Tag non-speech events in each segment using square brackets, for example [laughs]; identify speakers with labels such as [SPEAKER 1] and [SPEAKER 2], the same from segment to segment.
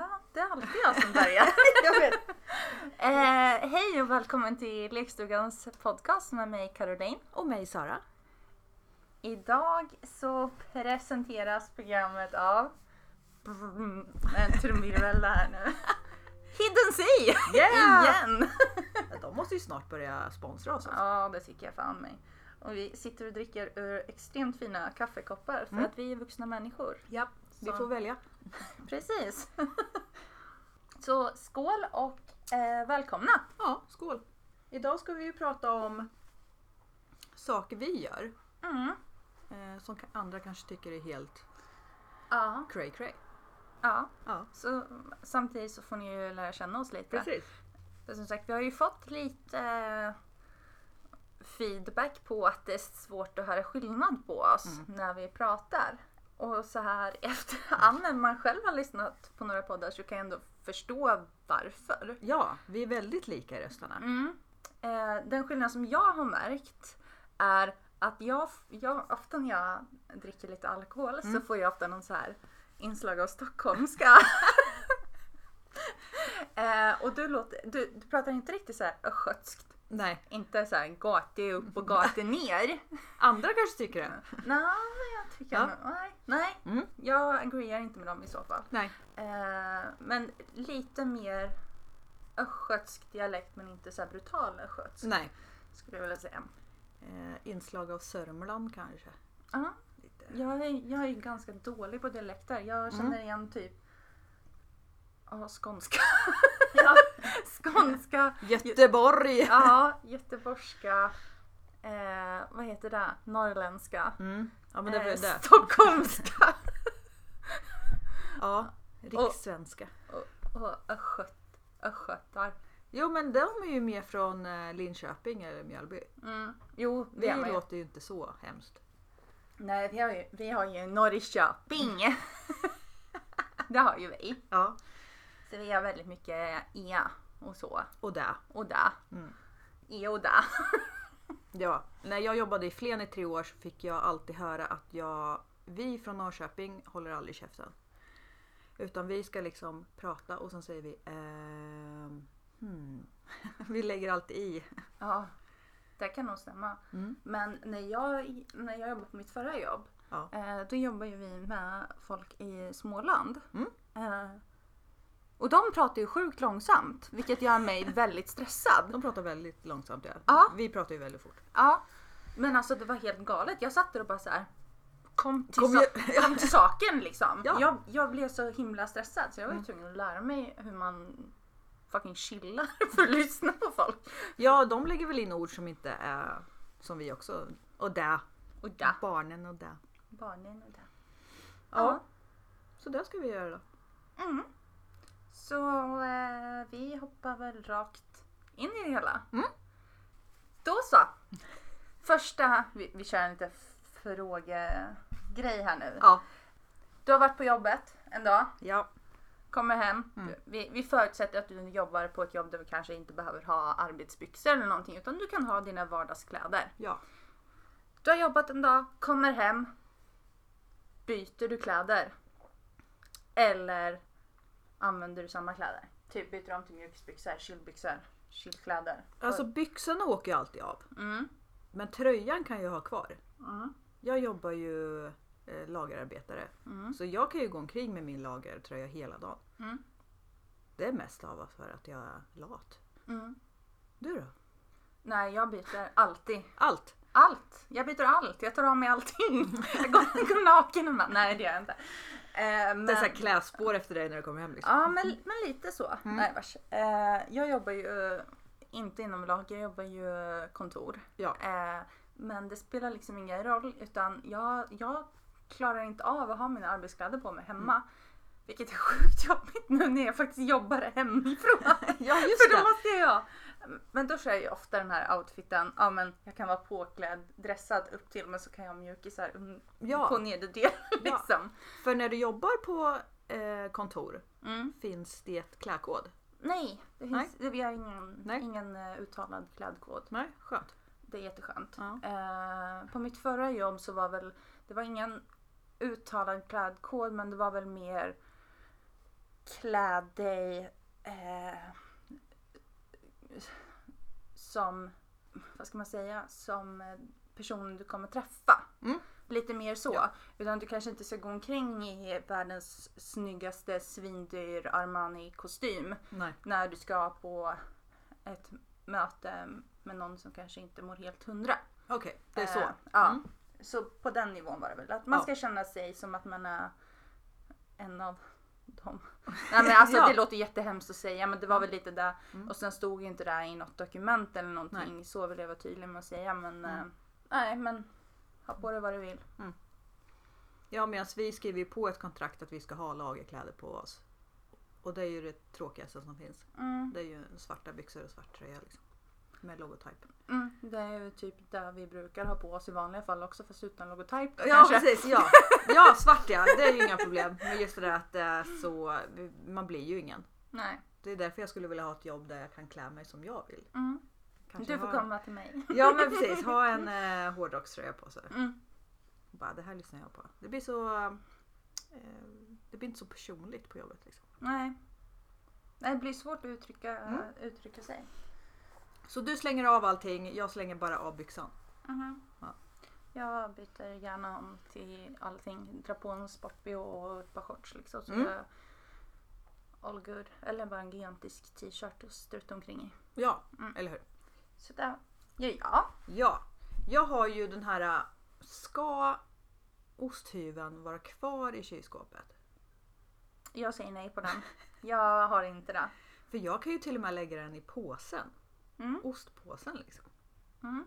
[SPEAKER 1] alltid jag som [laughs] börjar.
[SPEAKER 2] Jag vet.
[SPEAKER 1] eh, hej och välkommen till Lekstugans podcast med mig Caroline.
[SPEAKER 2] [laughs] Och mig Sara.
[SPEAKER 1] Idag så presenteras programmet av Brum, en trumvirvel där nu. [laughs] Hidden [laughs] Sea!
[SPEAKER 2] Yeah!
[SPEAKER 1] Igen!
[SPEAKER 2] De måste ju snart börja sponsra oss. Alltså.
[SPEAKER 1] Ja, det tycker jag fan mig. Och vi sitter och dricker ur extremt fina kaffekoppar för
[SPEAKER 2] Mm.
[SPEAKER 1] att vi är vuxna människor.
[SPEAKER 2] Ja, vi
[SPEAKER 1] Så.
[SPEAKER 2] får välja.
[SPEAKER 1] Precis. [laughs] Så skål och eh, välkomna!
[SPEAKER 2] Ja, skål. Idag ska vi ju prata om saker vi gör
[SPEAKER 1] Mm.
[SPEAKER 2] eh, som ka- andra kanske tycker är helt
[SPEAKER 1] Ja,
[SPEAKER 2] cray cray.
[SPEAKER 1] ja.
[SPEAKER 2] Ja,
[SPEAKER 1] Så, samtidigt så får ni ju lära känna oss lite.
[SPEAKER 2] precis.
[SPEAKER 1] För Som sagt, vi har ju fått lite eh, feedback på att det är svårt att höra skillnad på oss
[SPEAKER 2] Mm.
[SPEAKER 1] när vi pratar. Och så här [laughs] efterhand när man själv har lyssnat på några poddar så kan jag ändå förstå varför.
[SPEAKER 2] Ja, vi är väldigt lika i rösterna.
[SPEAKER 1] Mm. Eh, den skillnad som jag har märkt är att jag, jag ofta när jag dricker lite alkohol
[SPEAKER 2] Mm.
[SPEAKER 1] så får jag ofta någon så här inslag av
[SPEAKER 2] [laughs]
[SPEAKER 1] stockholmska. eh, och du, låter, du, du pratar inte riktigt så här östgötskt.
[SPEAKER 2] Nej,
[SPEAKER 1] Inte så här gate upp och gate
[SPEAKER 2] [laughs]
[SPEAKER 1] ner.
[SPEAKER 2] andra kanske tycker det.
[SPEAKER 1] nej, jag tycker
[SPEAKER 2] Ja.
[SPEAKER 1] nog- nej. nej.
[SPEAKER 2] Mm.
[SPEAKER 1] Jag agreear inte med dem i så fall.
[SPEAKER 2] Nej,
[SPEAKER 1] Eh, men lite mer östgötsk dialekt men inte så här brutal östgötsk.
[SPEAKER 2] nej.
[SPEAKER 1] Skulle jag vilja säga.
[SPEAKER 2] Eh, inslag av Sörmland kanske.
[SPEAKER 1] Ja,
[SPEAKER 2] Lite.
[SPEAKER 1] jag, är, jag är ganska dålig på dialekter. Jag känner
[SPEAKER 2] Mm.
[SPEAKER 1] igen typ ja, skånska.
[SPEAKER 2] Ja.
[SPEAKER 1] [laughs] skånska.
[SPEAKER 2] Göteborg!
[SPEAKER 1] Ja, göteborgska. Eh, vad heter det? Norrländska.
[SPEAKER 2] Mm. Ja, men det var ju
[SPEAKER 1] Eh,
[SPEAKER 2] det.
[SPEAKER 1] [laughs] Stockholmska.
[SPEAKER 2] Ja, rikssvenska.
[SPEAKER 1] Och östgöt, östgötar.
[SPEAKER 2] Jo, men de är ju mer från eh, Linköping eller Mjölby.
[SPEAKER 1] Mm. Jo, det
[SPEAKER 2] Vi
[SPEAKER 1] är man ju.
[SPEAKER 2] låter ju inte så hemskt.
[SPEAKER 1] Nej, vi har ju, vi har ju Norrköping. [laughs] det har ju vi.
[SPEAKER 2] Ja.
[SPEAKER 1] Så vi har väldigt mycket e och så.
[SPEAKER 2] Och där.
[SPEAKER 1] Och da.
[SPEAKER 2] Mm.
[SPEAKER 1] E och da.
[SPEAKER 2] Ja. När jag jobbade i Flen i tre år så fick jag alltid höra att jag, vi från Norrköping håller aldrig käften. Utan vi ska liksom prata och sen säger vi ehm, hmm. [laughs] Vi lägger allt i.
[SPEAKER 1] Ja, det kan nog stämma.
[SPEAKER 2] Mm.
[SPEAKER 1] Men när jag, när jag jobbade på mitt förra jobb,
[SPEAKER 2] Ja.
[SPEAKER 1] eh, då jobbar ju vi med folk i Småland.
[SPEAKER 2] Mm.
[SPEAKER 1] Eh, och de pratar ju sjukt långsamt, vilket gör
[SPEAKER 2] [laughs]
[SPEAKER 1] mig väldigt stressad.
[SPEAKER 2] De pratar väldigt långsamt. Ja.
[SPEAKER 1] Ja.
[SPEAKER 2] Vi pratar ju väldigt fort.
[SPEAKER 1] Ja, men alltså det var helt galet. Jag satt där och bara så här. Kom till,
[SPEAKER 2] Kom [laughs]
[SPEAKER 1] sa-
[SPEAKER 2] ju-
[SPEAKER 1] kom till saken liksom.
[SPEAKER 2] Ja. Mm.
[SPEAKER 1] Jag, jag blev så himla stressad så jag var ju tvungen att lära mig hur man fucking chillar [laughs] för att lyssna på folk.
[SPEAKER 2] Ja, de lägger väl in ord som inte är som vi också. Och där.
[SPEAKER 1] Och där.
[SPEAKER 2] Barnen och där.
[SPEAKER 1] Barnen och där.
[SPEAKER 2] Ja. Så det ska vi göra då.
[SPEAKER 1] Ja. Mm. Så eh, vi hoppar väl rakt in i det hela.
[SPEAKER 2] Mm.
[SPEAKER 1] Då så. Första, vi, vi kör en liten frågegrej här nu.
[SPEAKER 2] Ja.
[SPEAKER 1] Du har varit på jobbet en dag.
[SPEAKER 2] Ja.
[SPEAKER 1] Kommer hem.
[SPEAKER 2] Mm.
[SPEAKER 1] Du- Vi, vi förutsätter att du jobbar på ett jobb där du kanske inte behöver ha arbetsbyxor eller någonting utan du kan ha dina vardagskläder.
[SPEAKER 2] Ja.
[SPEAKER 1] Du har jobbat en dag, kommer hem. Byter du kläder? Eller använder du samma kläder? Typ byter du om till mjukisbyxor, chillbyxor, chillkläder.
[SPEAKER 2] Alltså byxorna åker ju alltid av.
[SPEAKER 1] Mm.
[SPEAKER 2] Men tröjan kan jag ha kvar.
[SPEAKER 1] Mm.
[SPEAKER 2] Jag jobbar ju eh, lagerarbetare.
[SPEAKER 1] Mm.
[SPEAKER 2] Så jag kan ju gå omkring med min lagertröja hela dagen.
[SPEAKER 1] Mm.
[SPEAKER 2] Det är mest av för att jag är lat.
[SPEAKER 1] Mm.
[SPEAKER 2] Du då?
[SPEAKER 1] Nej, jag byter alltid.
[SPEAKER 2] Allt!
[SPEAKER 1] Allt! Jag byter allt. Jag tar av mig allting. [laughs] Jag går, går naken en man. Nej, det gör jag inte. Eh, men...
[SPEAKER 2] Det är så här klädspår efter dig när du kommer hem. Liksom.
[SPEAKER 1] Ja, men, men lite så.
[SPEAKER 2] Mm.
[SPEAKER 1] Nej, vars. Eh, jag jobbar ju eh, inte inom lag, jag jobbar ju eh, kontor.
[SPEAKER 2] Ja.
[SPEAKER 1] Eh, men det spelar liksom ingen roll utan jag, jag klarar inte av att ha mina arbetskläder på mig hemma.
[SPEAKER 2] Mm.
[SPEAKER 1] Vilket är sjukt jobbigt nu när jag faktiskt jobbar hemifrån.
[SPEAKER 2] [laughs] Ja, just
[SPEAKER 1] För då
[SPEAKER 2] det!
[SPEAKER 1] måste jag ha- Men då kör jag ju ofta den här outfiten, ja men jag kan vara påklädd, dressad upp till men så kan jag ha mjukisar un-
[SPEAKER 2] Ja.
[SPEAKER 1] på [laughs] nederdelen
[SPEAKER 2] Ja.
[SPEAKER 1] liksom.
[SPEAKER 2] För när du jobbar på eh, kontor
[SPEAKER 1] Mm.
[SPEAKER 2] finns det klädkod.
[SPEAKER 1] Nej, det finns, det- vi har ingen,
[SPEAKER 2] Nej.
[SPEAKER 1] ingen eh, uttalad klädkod.
[SPEAKER 2] Nej, skönt.
[SPEAKER 1] Det är jätteskönt.
[SPEAKER 2] Ja.
[SPEAKER 1] Eh, på mitt förra jobb så var väl, det var ingen uttalad klädkod men det var väl mer klä dig eh, som, vad ska man säga, som eh, personen du kommer träffa.
[SPEAKER 2] Mm.
[SPEAKER 1] Lite mer så.
[SPEAKER 2] Ja.
[SPEAKER 1] Utan du kanske inte ska gå omkring i världens snyggaste svindyr Armani-kostym
[SPEAKER 2] Nej.
[SPEAKER 1] när du ska på ett möte med någon som kanske inte mår helt hundra.
[SPEAKER 2] Okej, det är så.
[SPEAKER 1] Eh, ja.
[SPEAKER 2] Mm.
[SPEAKER 1] Så på den nivån var det väl. Att man
[SPEAKER 2] Ja.
[SPEAKER 1] ska känna sig som att man är en av dem.
[SPEAKER 2] [laughs]
[SPEAKER 1] Nej men alltså
[SPEAKER 2] Ja. Mm.
[SPEAKER 1] det låter jättehemskt att säga men det var väl lite det. Och sen stod ju inte det här i något dokument eller någonting. Så vill jag vara tydlig med att säga men eh,
[SPEAKER 2] Mm.
[SPEAKER 1] nej men ha på dig vad du vill.
[SPEAKER 2] Ja, medan vi skriver ju på ett kontrakt att vi ska ha lagerkläder på oss. Och det är ju det tråkigaste som finns.
[SPEAKER 1] Mm.
[SPEAKER 2] Det är ju svarta byxor och svart tröja liksom. Med logotyp.
[SPEAKER 1] Mm. Det är ju typ det vi brukar ha på oss i vanliga fall också fast utan logotyp då
[SPEAKER 2] Ja
[SPEAKER 1] kanske. [laughs]
[SPEAKER 2] precis, ja. ja svart ja, det är ju inga problem. Men just det där att det är så, man blir ju ingen.
[SPEAKER 1] Nej.
[SPEAKER 2] Det är därför jag skulle vilja ha ett jobb där jag kan klä mig som jag vill.
[SPEAKER 1] Mm.
[SPEAKER 2] Kanske
[SPEAKER 1] Du får
[SPEAKER 2] ha-
[SPEAKER 1] komma till mig.
[SPEAKER 2] Ja men precis, ha en eh, hårdrockströja på sig.
[SPEAKER 1] Mm.
[SPEAKER 2] Bara, det här lyssnar jag på. Det blir så... Eh, det blir inte så personligt på jobbet liksom.
[SPEAKER 1] Nej. Nej, Det blir svårt att uttrycka, eh,
[SPEAKER 2] Mm.
[SPEAKER 1] uttrycka sig.
[SPEAKER 2] Så du slänger av allting, jag slänger bara av byxan.
[SPEAKER 1] Mhm.
[SPEAKER 2] Ja.
[SPEAKER 1] Jag byter gärna om till allting. Drar på en sportbh och ett par shorts liksom. Så
[SPEAKER 2] Mm.
[SPEAKER 1] jag, all good. Eller bara en gigantisk t-shirt och struta omkring i.
[SPEAKER 2] Ja,
[SPEAKER 1] Mm.
[SPEAKER 2] eller hur?
[SPEAKER 1] Så där gör jag.
[SPEAKER 2] Ja. Jag har ju den här... eh, Ska osthyveln vara kvar i kylskåpet?
[SPEAKER 1] Jag säger nej på den. Jag har inte det.
[SPEAKER 2] För jag kan ju till och med lägga den i påsen.
[SPEAKER 1] Mm.
[SPEAKER 2] Ostpåsen liksom.
[SPEAKER 1] Mm.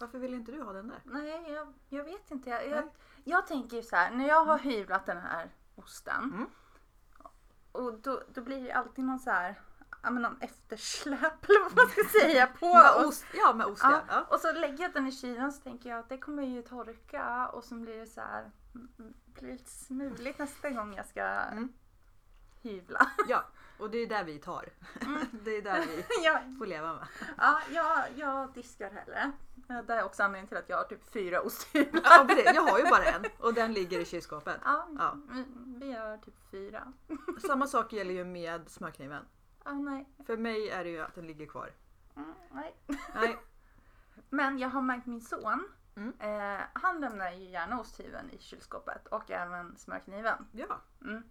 [SPEAKER 2] Varför vill inte du ha den där?
[SPEAKER 1] Nej, jag, jag vet inte. Jag, jag,
[SPEAKER 2] Nej.
[SPEAKER 1] jag tänker ju så här, när jag har hyvlat den här osten.
[SPEAKER 2] Mm.
[SPEAKER 1] Och då, då blir det alltid någon så här, ja men någon eftersläp eller vad man ska
[SPEAKER 2] [laughs]
[SPEAKER 1] säga på
[SPEAKER 2] Med
[SPEAKER 1] ost.
[SPEAKER 2] ost, ja, med ost ja.
[SPEAKER 1] Ja,
[SPEAKER 2] ja.
[SPEAKER 1] och så lägger jag den i kylen så tänker jag att det kommer ju torka och så blir det så här, mm, mm, blir lite smuligt nästa gång jag ska
[SPEAKER 2] Mm.
[SPEAKER 1] hyvla. [laughs]
[SPEAKER 2] Ja, och det är där vi tar.
[SPEAKER 1] Mm.
[SPEAKER 2] [laughs] Det är där vi
[SPEAKER 1] jag,
[SPEAKER 2] får
[SPEAKER 1] [laughs]
[SPEAKER 2] leva med.
[SPEAKER 1] ja, jag, jag diskar hellre. Ja, Det är också anledningen till att jag har typ fyra osthyvlar.
[SPEAKER 2] Ja, precis. Jag har ju bara en och den ligger i kylskåpet.
[SPEAKER 1] Ja,
[SPEAKER 2] Ja.
[SPEAKER 1] Vi, vi har typ fyra.
[SPEAKER 2] Samma sak gäller ju med smörkniven.
[SPEAKER 1] Ah, nej.
[SPEAKER 2] För mig är det ju att den ligger kvar.
[SPEAKER 1] Mm, nej.
[SPEAKER 2] Nej.
[SPEAKER 1] Men jag har märkt min son.
[SPEAKER 2] Mm.
[SPEAKER 1] Eh, han lämnar ju gärna osthyveln i kylskåpet och även smörkniven.
[SPEAKER 2] Ja.
[SPEAKER 1] Mm.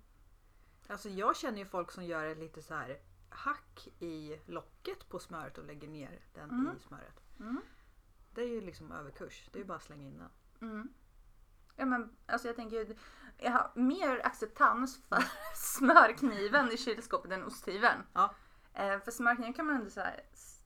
[SPEAKER 2] Alltså jag känner ju folk som gör ett lite så här hack i locket på smöret och lägger ner den
[SPEAKER 1] Mm.
[SPEAKER 2] i smöret.
[SPEAKER 1] Mm.
[SPEAKER 2] Det är ju liksom överkurs. Det är ju bara att slänga in den.
[SPEAKER 1] Mm. Ja, men, alltså jag tänker ju- jag har mer acceptans för [laughs] smörkniven i kylskåpet än osthyveln.
[SPEAKER 2] Ja.
[SPEAKER 1] Eh, för smörkniven kan man ändå så här s-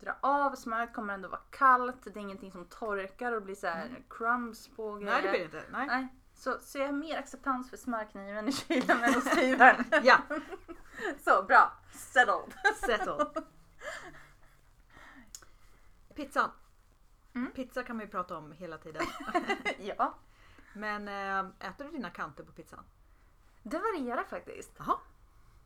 [SPEAKER 1] dra av, smöret kommer ändå vara kallt, det är ingenting som torkar och blir så här crumbs på grejer.
[SPEAKER 2] Mm. Nej det blir det inte. Nej.
[SPEAKER 1] Nej. Så, så jag har mer acceptans för smörkniven i
[SPEAKER 2] [laughs]
[SPEAKER 1] kylen än osthyveln.
[SPEAKER 2] Ja,
[SPEAKER 1] så bra, settled.
[SPEAKER 2] settle. [laughs] Pizzan.
[SPEAKER 1] Mm.
[SPEAKER 2] Pizza kan man ju prata om hela [laughs] tiden.
[SPEAKER 1] ja,
[SPEAKER 2] Men eh, äter du dina kanter på pizzan?
[SPEAKER 1] det varierar faktiskt.
[SPEAKER 2] Jaha.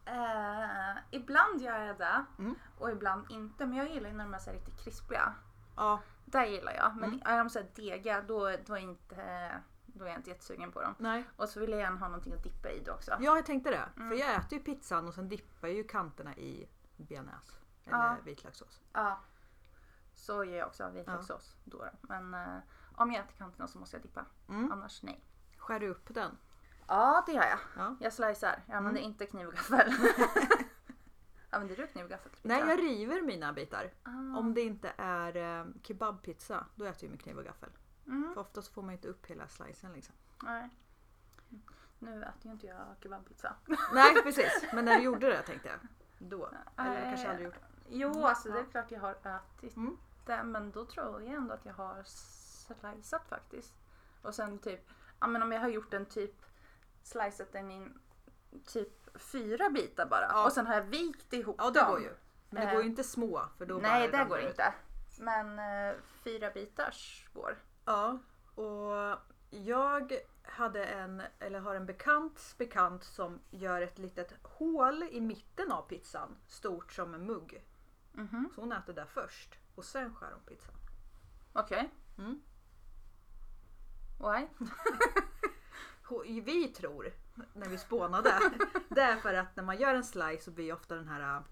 [SPEAKER 1] Eh, ibland gör jag det
[SPEAKER 2] Mm.
[SPEAKER 1] och ibland inte. Men jag gillar ju när de är så här riktigt krispiga.
[SPEAKER 2] Ja,
[SPEAKER 1] Det gillar jag. Men är de så här dega då, då, är inte, då är jag inte jättesugen på dem.
[SPEAKER 2] nej. Mm.
[SPEAKER 1] Och så vill jag gärna ha någonting att dippa i då också.
[SPEAKER 2] Ja, jag tänkte det. För jag äter ju pizzan och sen dippar jag ju kanterna i bearnaise. Eller
[SPEAKER 1] Ja.
[SPEAKER 2] vitlökssås.
[SPEAKER 1] Ja. Så gör jag också vitlökssås då, då. Men eh, om jag äter kanterna så måste jag dippa.
[SPEAKER 2] Mm.
[SPEAKER 1] Annars nej.
[SPEAKER 2] Skär du upp den?
[SPEAKER 1] Ja Mm. det gör jag.
[SPEAKER 2] Ja.
[SPEAKER 1] Jag slicear. Jag använder inte kniv och [laughs] gaffel. använder du kniv och gaffel till
[SPEAKER 2] Nej,
[SPEAKER 1] pizza?
[SPEAKER 2] jag river mina bitar.
[SPEAKER 1] Ah.
[SPEAKER 2] Om det inte är eh, kebabpizza, då äter jag med kniv och gaffel.
[SPEAKER 1] Mm.
[SPEAKER 2] För oftast får man ju inte upp hela slicen liksom.
[SPEAKER 1] Nej. Nu äter ju inte jag kebabpizza.
[SPEAKER 2] Nej, precis. Men när du gjorde det tänkte jag. Då. Eller jag kanske
[SPEAKER 1] Eh,
[SPEAKER 2] aldrig gjort.
[SPEAKER 1] Jo, alltså det är klart jag har ätit
[SPEAKER 2] Mm.
[SPEAKER 1] det, men då tror jag ändå att jag har slicat faktiskt. Och sen typ, ja men om jag har gjort en typ, slicat den i typ fyra bitar bara
[SPEAKER 2] Ja.
[SPEAKER 1] och sen har jag vikt ihop
[SPEAKER 2] Ja, det
[SPEAKER 1] dem.
[SPEAKER 2] går ju. Men det
[SPEAKER 1] Eh.
[SPEAKER 2] går ju inte små. För då
[SPEAKER 1] Nej,
[SPEAKER 2] bara
[SPEAKER 1] det går
[SPEAKER 2] ramlar ut.
[SPEAKER 1] inte. Men eh, fyra bitars går.
[SPEAKER 2] Ja, och jag hade en, eller har en bekant bekant som gör ett litet hål i mitten av pizzan, stort som en mugg.
[SPEAKER 1] Mhm.
[SPEAKER 2] Så hon äter det först och sen skär hon pizzan.
[SPEAKER 1] Okej.
[SPEAKER 2] Mm.
[SPEAKER 1] Why?
[SPEAKER 2] Ho- vi tror när
[SPEAKER 1] [laughs]
[SPEAKER 2] vi spånade. det är för att när man gör en slice så blir ofta den här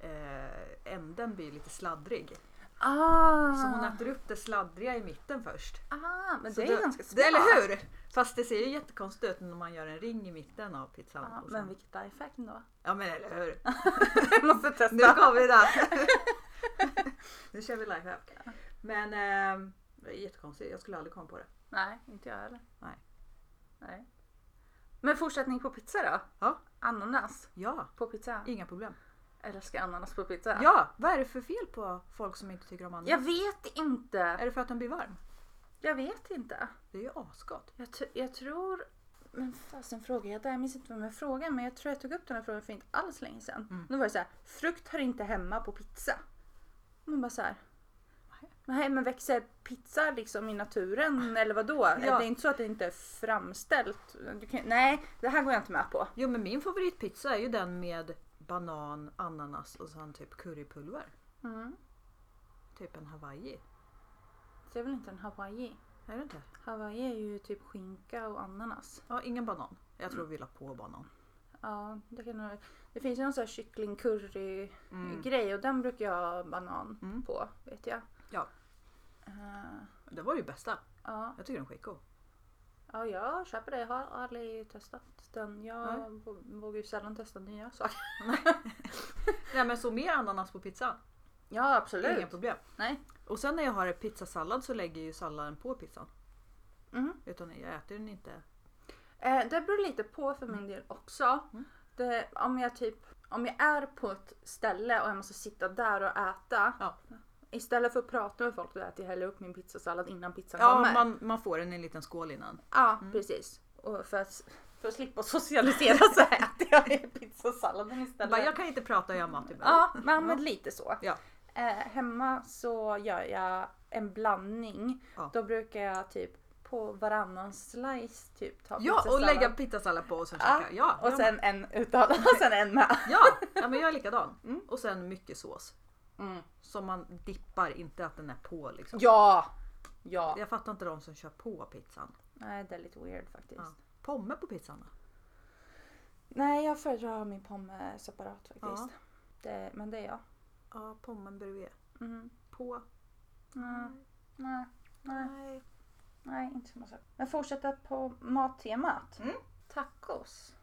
[SPEAKER 2] eh, änden blir lite sladdrig.
[SPEAKER 1] Ah.
[SPEAKER 2] Så hon äter upp det sladdriga i mitten först.
[SPEAKER 1] ah, men
[SPEAKER 2] Så
[SPEAKER 1] det är
[SPEAKER 2] då-
[SPEAKER 1] ganska smart.
[SPEAKER 2] det- Eller hur? Fast det ser ju jättekonstigt ut när man gör en ring i mitten av pizzan.
[SPEAKER 1] Ja,
[SPEAKER 2] och sen-
[SPEAKER 1] men vilket lifehack då.
[SPEAKER 2] ja men eller
[SPEAKER 1] [laughs]
[SPEAKER 2] hur?
[SPEAKER 1] Jag måste
[SPEAKER 2] Nu
[SPEAKER 1] testa.
[SPEAKER 2] gav
[SPEAKER 1] [laughs]
[SPEAKER 2] vi det! nu kör vi lifehack. Men ehm, det är jättekonstigt, jag skulle aldrig komma på det.
[SPEAKER 1] Nej, inte jag heller.
[SPEAKER 2] Nej.
[SPEAKER 1] Nej. Men fortsättning på pizza då?
[SPEAKER 2] Ja.
[SPEAKER 1] Ananas
[SPEAKER 2] Ja,
[SPEAKER 1] på pizza.
[SPEAKER 2] inga problem.
[SPEAKER 1] Älskar ananas på pizza.
[SPEAKER 2] Ja, vad är det för fel på folk som inte tycker om ananas?
[SPEAKER 1] Jag vet inte.
[SPEAKER 2] Är det för att den blir varm?
[SPEAKER 1] Jag vet inte.
[SPEAKER 2] Det är ju asgott.
[SPEAKER 1] Jag, t- jag tror... Men fasen frågade jag där? Jag minns inte vem jag frågade men jag tror jag tog upp den här frågan för inte alls länge sedan.
[SPEAKER 2] Mm.
[SPEAKER 1] Då var det så här, frukt hör inte hemma på pizza. Man bara så här.
[SPEAKER 2] Nej.
[SPEAKER 1] Nej men växer pizza liksom i naturen eller vad då?
[SPEAKER 2] Ah, Ja.
[SPEAKER 1] Det är inte så att det inte är framställt. Du kan, nej, det här går jag inte med på.
[SPEAKER 2] Jo men min favoritpizza är ju den med banan, ananas och sen typ currypulver.
[SPEAKER 1] Mm.
[SPEAKER 2] Typ en hawaii.
[SPEAKER 1] Det är väl inte en hawaii?
[SPEAKER 2] Är det inte?
[SPEAKER 1] Hawaii är ju typ skinka och ananas.
[SPEAKER 2] Ja, ingen banan. Jag
[SPEAKER 1] Mm.
[SPEAKER 2] tror vi la på banan.
[SPEAKER 1] Ja, det, kan, nog- det finns ju någon sån här kycklingcurry-grej och den brukar jag ha banan
[SPEAKER 2] Mm.
[SPEAKER 1] på vet jag.
[SPEAKER 2] Ja.
[SPEAKER 1] Eh,
[SPEAKER 2] Det var ju bästa.
[SPEAKER 1] ja.
[SPEAKER 2] Jag tycker den är skitgod.
[SPEAKER 1] ja, jag köper det. Jag har aldrig testat den. Jag
[SPEAKER 2] Nej.
[SPEAKER 1] vå- vågar ju sällan testa nya
[SPEAKER 2] [laughs]
[SPEAKER 1] saker.
[SPEAKER 2] Nej men så mer ananas på pizzan.
[SPEAKER 1] Ja,
[SPEAKER 2] Det är
[SPEAKER 1] absolut.
[SPEAKER 2] inga problem.
[SPEAKER 1] Nej.
[SPEAKER 2] Och sen när jag har en pizzasallad så lägger jag ju salladen på pizzan.
[SPEAKER 1] Mhm.
[SPEAKER 2] Utan jag äter den inte.
[SPEAKER 1] Eh, det beror lite på för min del också.
[SPEAKER 2] Mm.
[SPEAKER 1] Det, om jag typ om jag är på ett ställe och jag måste sitta där och äta.
[SPEAKER 2] Ja.
[SPEAKER 1] Istället för att prata med folk då äter jag hellre upp min pizzasallad innan pizzan
[SPEAKER 2] Ja,
[SPEAKER 1] kommer.
[SPEAKER 2] man, man får den i en liten skål innan.
[SPEAKER 1] Ja, precis. Och för, att, för att slippa
[SPEAKER 2] [laughs]
[SPEAKER 1] socialisera så äter jag pizzasalladen istället.
[SPEAKER 2] Bara, jag kan inte prata, jag har mat i munnen.
[SPEAKER 1] Ja, men men lite så.
[SPEAKER 2] Ja.
[SPEAKER 1] Eh, hemma så gör jag en blandning.
[SPEAKER 2] Ja.
[SPEAKER 1] Då brukar jag typ på varannan slice typ ta
[SPEAKER 2] Ja, och
[SPEAKER 1] pizzasallad.
[SPEAKER 2] lägga pizzasallad på och sen
[SPEAKER 1] Ja,
[SPEAKER 2] käka. Ja,
[SPEAKER 1] och
[SPEAKER 2] ja,
[SPEAKER 1] sen en utan och sen en med.
[SPEAKER 2] men- ja, ja, men jag
[SPEAKER 1] [laughs]
[SPEAKER 2] är likadan.
[SPEAKER 1] Mm.
[SPEAKER 2] Och sen mycket sås. Mm. Som man dippar, inte att den är på liksom.
[SPEAKER 1] Ja! Ja.
[SPEAKER 2] Jag fattar inte de som kör på pizzan.
[SPEAKER 1] Nej, det är lite weird faktiskt.
[SPEAKER 2] Ja. Pomme på pizzan då?
[SPEAKER 1] Nej, jag föredrar min pomme separat faktiskt.
[SPEAKER 2] Ja.
[SPEAKER 1] Det, men det är jag.
[SPEAKER 2] Ja, pommen bredvid.
[SPEAKER 1] Mm.
[SPEAKER 2] På?
[SPEAKER 1] Mm. Nej. Nej.
[SPEAKER 2] Nej.
[SPEAKER 1] Nej, inte samma sak. Men fortsätta på mattemat.
[SPEAKER 2] Mm.
[SPEAKER 1] Tacos.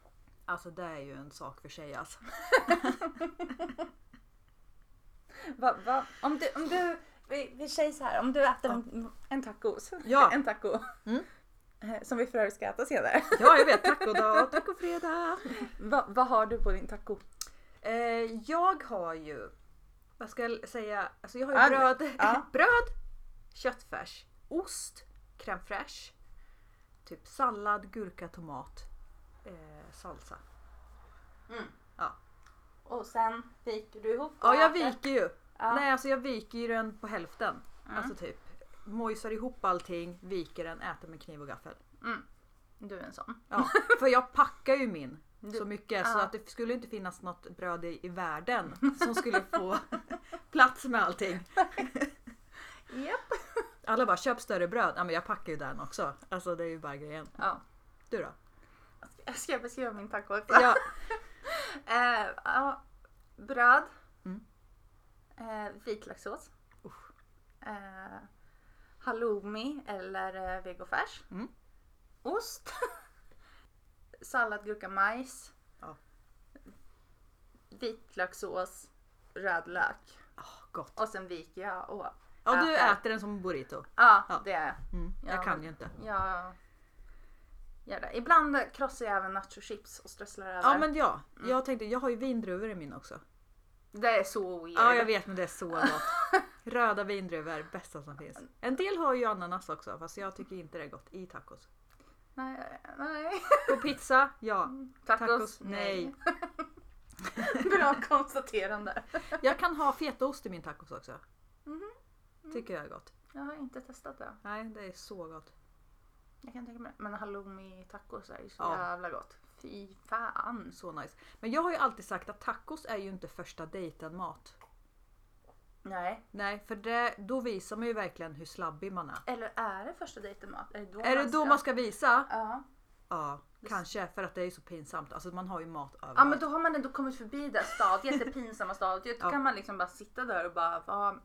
[SPEAKER 2] Alltså det är ju en sak för sig alltså.
[SPEAKER 1] Va, va? Om du, om du vi, vi säger så här, om du äter en, en tacos.
[SPEAKER 2] Ja.
[SPEAKER 1] En taco.
[SPEAKER 2] Mm.
[SPEAKER 1] Eh, Som vi för övrigt ska äta senare.
[SPEAKER 2] Ja, jag vet. Tacodag, tacofredag.
[SPEAKER 1] [laughs] Va, vad har du på din taco?
[SPEAKER 2] Eh, jag har ju, vad ska jag säga, alltså jag har
[SPEAKER 1] Ja,
[SPEAKER 2] ju bröd,
[SPEAKER 1] ja.
[SPEAKER 2] [laughs] bröd, köttfärs, ost, crème fraîche, typ sallad, gurka, tomat, eh, salsa.
[SPEAKER 1] Och sen viker du ihop
[SPEAKER 2] Ja, jag viker ju.
[SPEAKER 1] Ja.
[SPEAKER 2] Nej, alltså jag viker ju den på hälften. Alltså typ mojsar ihop allting, viker den, äter med kniv och gaffel.
[SPEAKER 1] Du är en sån.
[SPEAKER 2] Ja, [laughs] för jag packar ju min
[SPEAKER 1] Du-
[SPEAKER 2] så mycket så
[SPEAKER 1] ja.
[SPEAKER 2] att det skulle inte finnas något bröd i, i världen som skulle få [laughs] plats med allting.
[SPEAKER 1] Japp.
[SPEAKER 2] Alla bara köp större bröd. Ja men jag packar ju den också. Alltså det är ju bara grejen.
[SPEAKER 1] Ja.
[SPEAKER 2] Du då?
[SPEAKER 1] Jag ska beskriva min taco.
[SPEAKER 2] Ja.
[SPEAKER 1] Eh, ja, bröd.
[SPEAKER 2] Mm.
[SPEAKER 1] Eh, vitlökssås.
[SPEAKER 2] Usch.
[SPEAKER 1] Eh, halloumi eller eh, vegofärs.
[SPEAKER 2] Mm.
[SPEAKER 1] Ost. [laughs] Sallad, gurka, majs.
[SPEAKER 2] Ja.
[SPEAKER 1] Vitlökssås. Rödlök.
[SPEAKER 2] Ah, gott.
[SPEAKER 1] Och sen viker jag och...
[SPEAKER 2] Ja du
[SPEAKER 1] Äter.
[SPEAKER 2] äter den som burrito.
[SPEAKER 1] Ja,
[SPEAKER 2] Ja.
[SPEAKER 1] det är jag.
[SPEAKER 2] Mm,
[SPEAKER 1] Ja.
[SPEAKER 2] jag kan ju inte.
[SPEAKER 1] jag. Gör det. Ibland krossar jag även nachochips och strösslar över.
[SPEAKER 2] Ja Mm. men ja. Jag tänkte, jag har ju vindruvor i min också.
[SPEAKER 1] Det är så weird.
[SPEAKER 2] Ja jag vet men det är så gott.
[SPEAKER 1] [laughs]
[SPEAKER 2] Röda vindruvor, bästa som finns. En del har ju ananas också fast jag tycker inte det är gott i tacos.
[SPEAKER 1] Nej, nej.
[SPEAKER 2] På pizza, ja.
[SPEAKER 1] Mm. Tacos?
[SPEAKER 2] Tacos, nej.
[SPEAKER 1] [laughs] Bra konstaterande.
[SPEAKER 2] Jag kan ha fetaost i min tacos också.
[SPEAKER 1] Mhm.
[SPEAKER 2] Tycker jag är gott.
[SPEAKER 1] Jag har inte testat det.
[SPEAKER 2] Nej det är så gott.
[SPEAKER 1] Jag kan tänka mig det. Men halloumi-tacos är ju så
[SPEAKER 2] Ja.
[SPEAKER 1] jävla gott. Fy fan.
[SPEAKER 2] Så nice. Men jag har ju alltid sagt att tacos är ju inte första dejten mat.
[SPEAKER 1] Nej.
[SPEAKER 2] Nej, för det, då visar man ju verkligen hur slabbig man är.
[SPEAKER 1] Eller är det första dejten mat? Är det då
[SPEAKER 2] Är det
[SPEAKER 1] man
[SPEAKER 2] då
[SPEAKER 1] ska-
[SPEAKER 2] man ska visa?
[SPEAKER 1] Ja.
[SPEAKER 2] Ja, kanske för att det är så pinsamt. Alltså man har ju mat överallt.
[SPEAKER 1] Ja men då har man ändå kommit förbi det stadiet, det pinsamma stadiet. Då
[SPEAKER 2] Ja.
[SPEAKER 1] kan man liksom bara sitta där och bara vara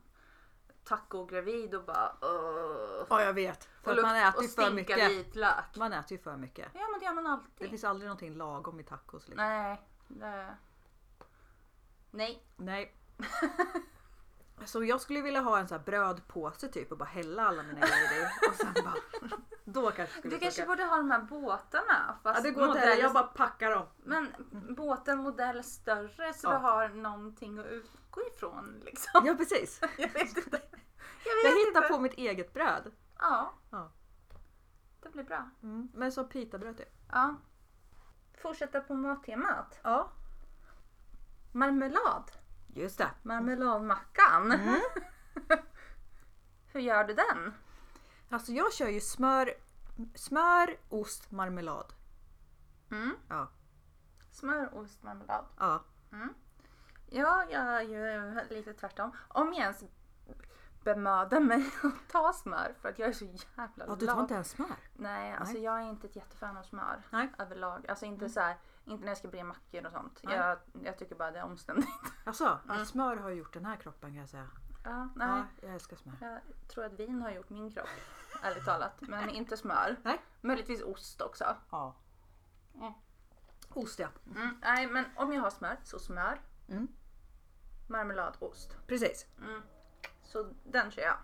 [SPEAKER 1] taco-gravid och bara uh,
[SPEAKER 2] ja jag vet. För att
[SPEAKER 1] lukt-
[SPEAKER 2] man äter ju
[SPEAKER 1] och
[SPEAKER 2] för
[SPEAKER 1] stinka
[SPEAKER 2] mycket.
[SPEAKER 1] vitlök.
[SPEAKER 2] Man äter ju för mycket.
[SPEAKER 1] Ja men det gör man
[SPEAKER 2] Det
[SPEAKER 1] alltid.
[SPEAKER 2] finns aldrig någonting lagom i tacos. Liksom.
[SPEAKER 1] Nej. Det... Nej.
[SPEAKER 2] Nej. [laughs] Så jag skulle vilja ha en sån här brödpåse typ och bara hälla alla mina grejer i. Och sen bara, [laughs] då kanske skulle
[SPEAKER 1] Du
[SPEAKER 2] det
[SPEAKER 1] kanske
[SPEAKER 2] funka.
[SPEAKER 1] borde ha de här båtarna. Fast
[SPEAKER 2] Ja det går inte heller, jag bara packar dem.
[SPEAKER 1] Men båten modell större så
[SPEAKER 2] Ja.
[SPEAKER 1] du har någonting att utgå ifrån liksom. [laughs]
[SPEAKER 2] Ja precis.
[SPEAKER 1] Jag vet inte.
[SPEAKER 2] Jag hittar på mitt eget bröd.
[SPEAKER 1] Ja.
[SPEAKER 2] Ja.
[SPEAKER 1] Det blir bra.
[SPEAKER 2] Mm. Men som pitabröd typ.
[SPEAKER 1] Ja. Fortsätta på mattemat.
[SPEAKER 2] Ja.
[SPEAKER 1] Marmelad.
[SPEAKER 2] Just det.
[SPEAKER 1] Marmeladmackan.
[SPEAKER 2] Mm.
[SPEAKER 1] [laughs] Hur gör du den?
[SPEAKER 2] Alltså jag kör ju smör, smör, ost, marmelad.
[SPEAKER 1] Mm.
[SPEAKER 2] Ja.
[SPEAKER 1] Smör, ost, marmelad.
[SPEAKER 2] Ja.
[SPEAKER 1] Ja, jag är ju lite tvärtom. Om jag ens bemödar mig [laughs] att ta smör för att jag är så jävla
[SPEAKER 2] ja du tar inte ens smör?
[SPEAKER 1] Nej, alltså jag är inte ett jättefan av smör
[SPEAKER 2] Nej. Mm.
[SPEAKER 1] överlag. Alltså inte så här, inte när jag ska bre mackor och sånt.
[SPEAKER 2] Nej.
[SPEAKER 1] Jag, jag tycker bara det är omständigt.
[SPEAKER 2] Alltså, ja, smör har gjort den här kroppen kan jag säga.
[SPEAKER 1] Ja, mm. nej.
[SPEAKER 2] [laughs] Ja, jag älskar smör.
[SPEAKER 1] Jag tror att vin har gjort min kropp, ärligt talat.
[SPEAKER 2] [laughs]
[SPEAKER 1] Men inte smör.
[SPEAKER 2] Nej.
[SPEAKER 1] Möjligtvis ost också.
[SPEAKER 2] Ja.
[SPEAKER 1] Mm.
[SPEAKER 2] Ost ja.
[SPEAKER 1] Mm, nej, men om jag har smör, så smör.
[SPEAKER 2] Mm.
[SPEAKER 1] Marmelad, ost.
[SPEAKER 2] Precis.
[SPEAKER 1] Så den kör jag.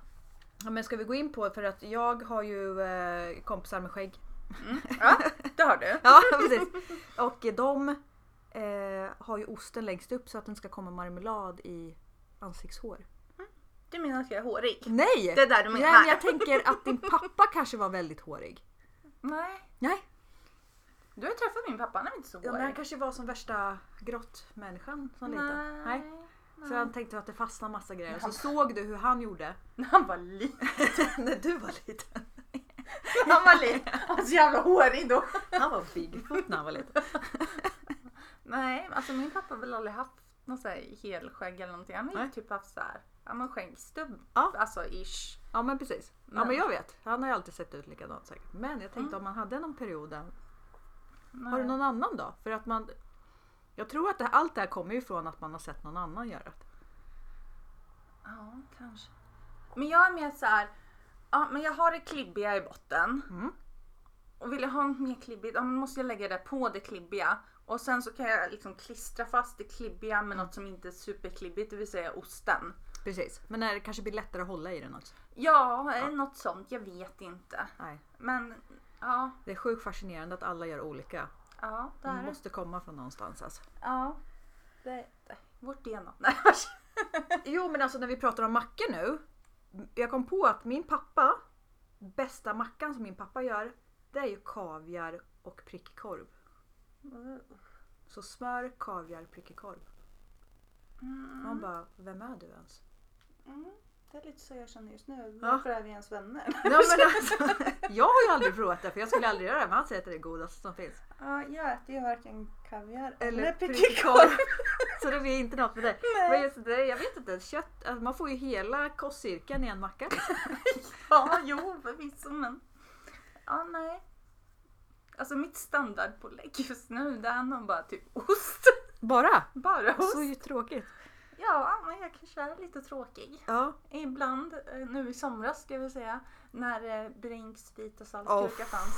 [SPEAKER 2] Ja, men ska vi gå in på, för att jag har ju eh, kompisar med skägg. [laughs]
[SPEAKER 1] Ja, det har du.
[SPEAKER 2] Ja precis. Och eh, de eh, har ju osten längst upp så att den ska komma marmelad i ansiktshår.
[SPEAKER 1] Du menar att jag är hårig?
[SPEAKER 2] Nej!
[SPEAKER 1] Det är där du
[SPEAKER 2] Nej
[SPEAKER 1] menar.
[SPEAKER 2] men jag tänker att din pappa kanske var väldigt hårig.
[SPEAKER 1] Nej.
[SPEAKER 2] Nej.
[SPEAKER 1] Du har ju träffat min pappa, han är inte så
[SPEAKER 2] Ja, men han
[SPEAKER 1] hårig.
[SPEAKER 2] kanske var som värsta grottmänniskan som liten. Nej. Så han tänkte att det fastnade massa grejer. Så såg du hur han gjorde
[SPEAKER 1] När [laughs] han var liten.
[SPEAKER 2] [laughs] när du var liten.
[SPEAKER 1] Han var
[SPEAKER 2] [laughs]
[SPEAKER 1] liten. Han var så jävla hårig då.
[SPEAKER 2] Han var Bigfoot när han var liten.
[SPEAKER 1] Nej, alltså min pappa har väl aldrig haft någon sån här helskägg eller någonting. Han har ju
[SPEAKER 2] Nej.
[SPEAKER 1] typ haft såhär, ja men skäggstubb.
[SPEAKER 2] Ja.
[SPEAKER 1] Alltså ish.
[SPEAKER 2] Ja men precis. Ja
[SPEAKER 1] Men-
[SPEAKER 2] men jag vet. Han har ju alltid sett ut likadant säkert. Men jag tänkte om man hade någon period. där. Har du någon annan då? För att man... Jag tror att det, allt det här kommer ju från att man har sett någon annan göra det.
[SPEAKER 1] Ja, kanske. Men jag är mer såhär, ja men jag har det klibbiga i botten.
[SPEAKER 2] Mm.
[SPEAKER 1] Och vill jag ha något mer klibbigt, ja men måste jag lägga det på det klibbiga. Och sen så kan jag liksom klistra fast det klibbiga med något som inte är superklibbigt, det vill säga osten.
[SPEAKER 2] Precis. Men när det kanske blir lättare att hålla i den också.
[SPEAKER 1] Ja, ja. något sånt, jag vet inte.
[SPEAKER 2] Nej.
[SPEAKER 1] Men ja,
[SPEAKER 2] Det är sjukt fascinerande att alla gör olika.
[SPEAKER 1] ja det
[SPEAKER 2] Det
[SPEAKER 1] är det.
[SPEAKER 2] måste komma från någonstans alltså.
[SPEAKER 1] Ja. Det, det, vårt DNA. Nej, vars.
[SPEAKER 2] [laughs] Jo men alltså när vi pratar om mackor nu. Jag kom på att min pappa, bästa mackan som min pappa gör, det är ju kaviar och prickkorv. Så smör, kaviar, prickkorv.
[SPEAKER 1] Mm.
[SPEAKER 2] Man bara, vem är du ens?
[SPEAKER 1] Det är lite så jag känner just nu.
[SPEAKER 2] Varför
[SPEAKER 1] är vi ens vänner?
[SPEAKER 2] Nej, [laughs] men alltså, jag har ju aldrig provat det för jag skulle aldrig göra det men han säger att det är det godaste som finns.
[SPEAKER 1] Ja, jag äter ju varken kaviar [laughs]
[SPEAKER 2] Eller
[SPEAKER 1] prickkorv.
[SPEAKER 2] prickkorv. [laughs] Så det blir inte något för dig. Men just det, jag vet inte, kött, alltså, man får ju hela kostcirkeln i en macka.
[SPEAKER 1] Ja, jo förvisso men. Ja, nej. Alltså mitt standardpålägg just nu det är nog bara typ ost. [laughs]
[SPEAKER 2] Bara?
[SPEAKER 1] Bara ost.
[SPEAKER 2] Så ju tråkigt.
[SPEAKER 1] Ja, men jag kanske är lite tråkig.
[SPEAKER 2] Ja.
[SPEAKER 1] Ibland, eh, nu i somras ska vi säga, när eh, Brinks vita saltgurka
[SPEAKER 2] Oh.
[SPEAKER 1] fanns.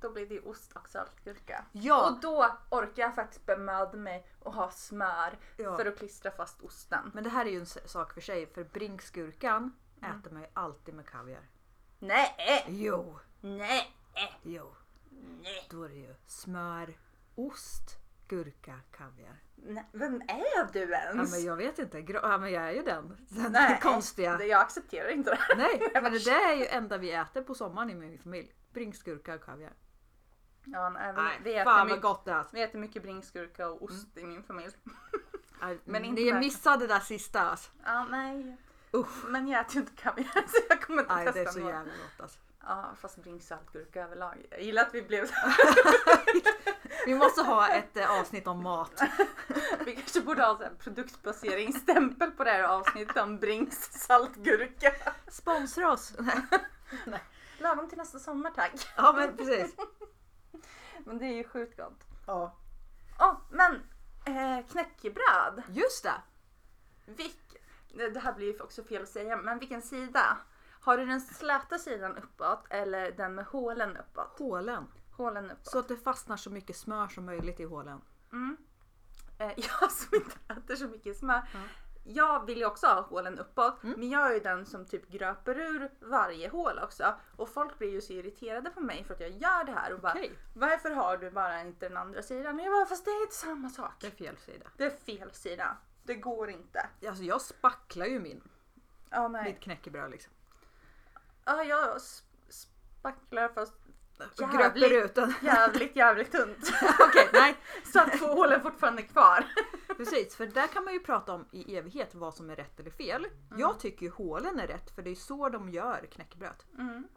[SPEAKER 1] Då blev det ost och saltgurka.
[SPEAKER 2] Ja.
[SPEAKER 1] Och då orkar jag faktiskt bemöda mig och ha smör
[SPEAKER 2] Ja.
[SPEAKER 1] för att klistra fast osten.
[SPEAKER 2] Men det här är ju en s- sak för sig, för brinkskurkan äter man ju alltid med kaviar.
[SPEAKER 1] Nej,
[SPEAKER 2] Jo,
[SPEAKER 1] nej,
[SPEAKER 2] jo.
[SPEAKER 1] nej.
[SPEAKER 2] Då är det ju smör, ost, gurka, kaviar.
[SPEAKER 1] nej. Vem är du
[SPEAKER 2] Ja,
[SPEAKER 1] ens?
[SPEAKER 2] men jag vet inte, Gro- ja, men jag är ju den,
[SPEAKER 1] [laughs]
[SPEAKER 2] den
[SPEAKER 1] Nej,
[SPEAKER 2] [laughs] konstiga.
[SPEAKER 1] det- Jag accepterar inte det.
[SPEAKER 2] [laughs] Nej, men det där är ju enda vi äter på sommaren i min familj. Brinkskurka och kaviar.
[SPEAKER 1] Ja, nej, vi, vi,
[SPEAKER 2] Nej,
[SPEAKER 1] äter
[SPEAKER 2] fan vad
[SPEAKER 1] mycket,
[SPEAKER 2] gott Mm. det är. alltså.
[SPEAKER 1] vi äter mycket bringskurka och ost i min familj. Men
[SPEAKER 2] Men
[SPEAKER 1] inte
[SPEAKER 2] Ni
[SPEAKER 1] där.
[SPEAKER 2] missade mm, det där sista alltså.
[SPEAKER 1] Ja, nej.
[SPEAKER 2] Usch.
[SPEAKER 1] Men jag äter ju inte kaviar [laughs] så jag kommer inte
[SPEAKER 2] Nej, det
[SPEAKER 1] testa
[SPEAKER 2] är så
[SPEAKER 1] något.
[SPEAKER 2] jävla gott alltså.
[SPEAKER 1] Ja, fast Brinks saltgurka överlag. Jag gillar att vi blev
[SPEAKER 2] Vi måste ha ett eh, avsnitt om mat.
[SPEAKER 1] Vi kanske borde ha så här produktplaceringsstämpel på det här avsnittet om Brinks saltgurka.
[SPEAKER 2] Sponsra [laughs] oss!
[SPEAKER 1] Lagom till nästa sommar tack.
[SPEAKER 2] Ja men precis.
[SPEAKER 1] Men det är ju sjukt gott.
[SPEAKER 2] Ja.
[SPEAKER 1] Åh, men eh, knäckebröd.
[SPEAKER 2] Just det!
[SPEAKER 1] Vilk, det här blir ju också fel att säga, men vilken sida? Har du den släta sidan uppåt eller den med hålen uppåt?
[SPEAKER 2] Hålen.
[SPEAKER 1] Hålen uppåt.
[SPEAKER 2] Så att det fastnar så mycket smör som möjligt i hålen.
[SPEAKER 1] Mm. Eh, [laughs] jag som inte äter så mycket smör.
[SPEAKER 2] Ja.
[SPEAKER 1] Jag vill ju också ha hålen uppåt,
[SPEAKER 2] Mm.
[SPEAKER 1] men jag är ju den som typ gröper ur varje hål också. Och folk blir ju så irriterade på mig för att jag gör det här och bara
[SPEAKER 2] Okej.
[SPEAKER 1] Varför har du bara inte den andra sidan? Och jag bara, fast det är inte samma sak.
[SPEAKER 2] Det är fel sida.
[SPEAKER 1] Det är fel sida. Det går inte.
[SPEAKER 2] Alltså jag spacklar ju min,
[SPEAKER 1] Ja, nej.
[SPEAKER 2] mitt knäckebröd liksom.
[SPEAKER 1] Ja, jag s- spacklar fast
[SPEAKER 2] Och
[SPEAKER 1] Jävligt.
[SPEAKER 2] gröper ut den. [laughs]
[SPEAKER 1] jävligt, jävligt tunt.
[SPEAKER 2] Okej, nej.
[SPEAKER 1] Så att två hål är fortfarande kvar.
[SPEAKER 2] Precis, för där kan man ju prata om i evighet vad som är rätt eller fel.
[SPEAKER 1] Mm.
[SPEAKER 2] Jag tycker ju hålen är rätt för det är så de gör knäckebröd.
[SPEAKER 1] Mm.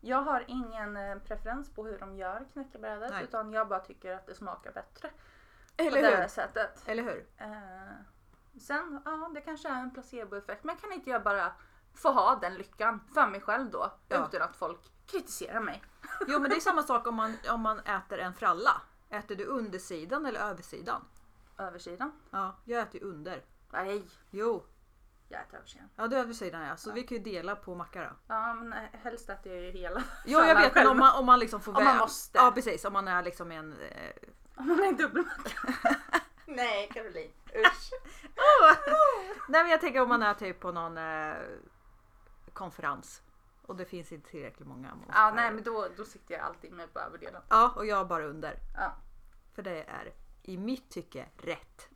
[SPEAKER 1] Jag har ingen eh, preferens på hur de gör knäckebrödet
[SPEAKER 2] Nej.
[SPEAKER 1] utan jag bara tycker att det smakar bättre på
[SPEAKER 2] Eller
[SPEAKER 1] det här
[SPEAKER 2] hur?
[SPEAKER 1] sättet.
[SPEAKER 2] Eller hur?
[SPEAKER 1] Eh, sen, ja det kanske är en placeboeffekt men kan inte jag bara få ha den lyckan för mig själv då
[SPEAKER 2] Ja.
[SPEAKER 1] utan att folk kritiserar mig?
[SPEAKER 2] Jo men det är samma sak om man, om man äter en fralla. Äter du undersidan eller översidan?
[SPEAKER 1] Översidan?
[SPEAKER 2] Ja, jag äter ju under.
[SPEAKER 1] Nej,
[SPEAKER 2] Jo,
[SPEAKER 1] jag äter översidan.
[SPEAKER 2] ja du är översidan ja. Så vi kan ju dela på macka då.
[SPEAKER 1] Ja men eh, helst äter jag ju hela.
[SPEAKER 2] [laughs] Jo jag
[SPEAKER 1] sallad
[SPEAKER 2] vet men
[SPEAKER 1] själv.
[SPEAKER 2] om man, om man liksom får
[SPEAKER 1] Om man
[SPEAKER 2] vä-
[SPEAKER 1] måste.
[SPEAKER 2] Ja precis, om man är liksom en... Eh,
[SPEAKER 1] [laughs] Om man är en dubbelmacka.
[SPEAKER 2] [laughs]
[SPEAKER 1] Nej Caroline, usch.
[SPEAKER 2] nej men jag tänker om man är typ på någon eh, konferens. Och det finns inte tillräckligt många. man måste
[SPEAKER 1] Ja
[SPEAKER 2] ha
[SPEAKER 1] nej
[SPEAKER 2] det.
[SPEAKER 1] men då, då sitter jag alltid med på överdelen.
[SPEAKER 2] ja och jag bara under.
[SPEAKER 1] Ja.
[SPEAKER 2] För det är i mitt tycke rätt.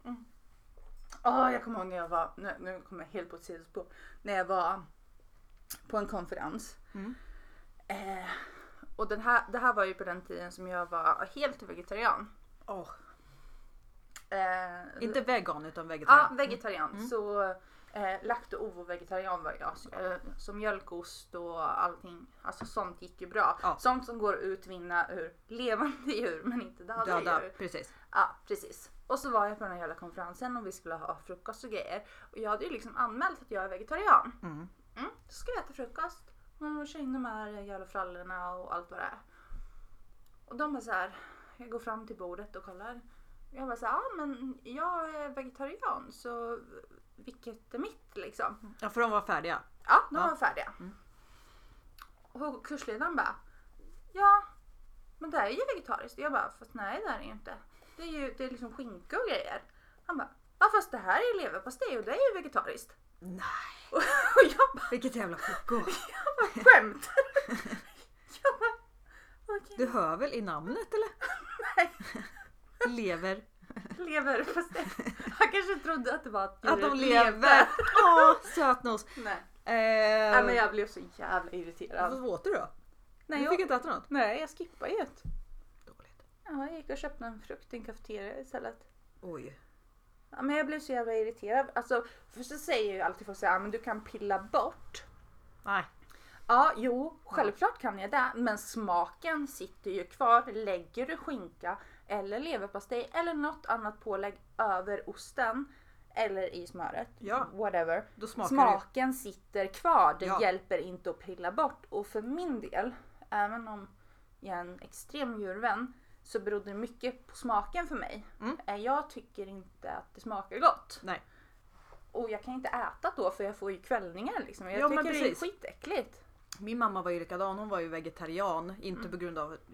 [SPEAKER 1] Ja, jag kommer ihåg när jag var, nu, nu kommer jag helt på ett sidospår. När jag var på en konferens.
[SPEAKER 2] Mm.
[SPEAKER 1] Eh, och den här, det här var ju på den tiden som jag var helt vegetarian. Eh,
[SPEAKER 2] Inte vegan utan vegetarian. Mm.
[SPEAKER 1] Ja, vegetarian. Så eh, lakt och ovo-vegetarian var jag. Så, eh, så mjölkost och allting, alltså sånt gick ju bra.
[SPEAKER 2] Ja.
[SPEAKER 1] Sånt som går att utvinna ur levande djur men inte döda,
[SPEAKER 2] Döda,
[SPEAKER 1] djur.
[SPEAKER 2] precis.
[SPEAKER 1] Ja, precis. Och så var jag på den här jävla konferensen och vi skulle ha frukost och grejer. Och jag hade ju liksom anmält att jag är vegetarian.
[SPEAKER 2] Mm.
[SPEAKER 1] Mm, så ska vi äta frukost. Och kör in de här jävla frallorna och allt vad det är. Och de är så här, jag går fram till bordet och kollar. Jag bara så här, ja men jag är vegetarian så vilket är mitt liksom?
[SPEAKER 2] Ja för de var färdiga.
[SPEAKER 1] Ja, de
[SPEAKER 2] Ja. Mm.
[SPEAKER 1] var färdiga. Och kursledaren bara, ja, men det här är ju vegetariskt. Jag bara, fast nej det här är ju inte. Det är ju det är liksom skinka och grejer. Han bara, ja fast det här är ju leverpastej och det är ju vegetariskt. [laughs]
[SPEAKER 2] Nej,
[SPEAKER 1] Och, och jag bara,
[SPEAKER 2] vilket jävla koko.
[SPEAKER 1] skämtar [laughs] Jag bara, okej,
[SPEAKER 2] Du hör väl i namnet eller?
[SPEAKER 1] Nej.
[SPEAKER 2] Lever.
[SPEAKER 1] leverpastej. Han kanske trodde att det var att
[SPEAKER 2] Att de
[SPEAKER 1] djuret
[SPEAKER 2] lever! Åh, sötnos.
[SPEAKER 1] Nej.
[SPEAKER 2] Eh,
[SPEAKER 1] nej, men jag blev så jävla irriterad.
[SPEAKER 2] Vad åt du då?
[SPEAKER 1] Nej,
[SPEAKER 2] du
[SPEAKER 1] jag,
[SPEAKER 2] fick inte äta något?
[SPEAKER 1] nej, jag skippade ju ett.
[SPEAKER 2] Dåligt.
[SPEAKER 1] Ja, jag gick och köpte en frukt i en kafeteria istället.
[SPEAKER 2] Oj.
[SPEAKER 1] Ja, men jag blev så jävla irriterad. Alltså, för så säger ju alltid folk så här, "Ah, men du kan pilla bort.
[SPEAKER 2] Nej.
[SPEAKER 1] Ja, jo, självklart kan jag det. Men smaken sitter ju kvar. Lägger du skinka eller leverpastej eller något annat pålägg över osten eller i smöret,
[SPEAKER 2] Ja.
[SPEAKER 1] whatever.
[SPEAKER 2] Då smakar det
[SPEAKER 1] Smaken sitter kvar. Det
[SPEAKER 2] Ja.
[SPEAKER 1] hjälper inte att pilla bort. Och för min del, även om jag är en extrem djurvän, så berodde det mycket på smaken för mig.
[SPEAKER 2] Mm.
[SPEAKER 1] Eh, Jag tycker inte att det smakar gott.
[SPEAKER 2] Nej.
[SPEAKER 1] Och jag kan inte äta då för jag får ju kvällningar liksom. Jag
[SPEAKER 2] Ja, men
[SPEAKER 1] tycker det är
[SPEAKER 2] precis.
[SPEAKER 1] skitäckligt.
[SPEAKER 2] Min mamma var ju likadan, hon var ju vegetarian. Inte
[SPEAKER 1] Mm.
[SPEAKER 2] på grund av att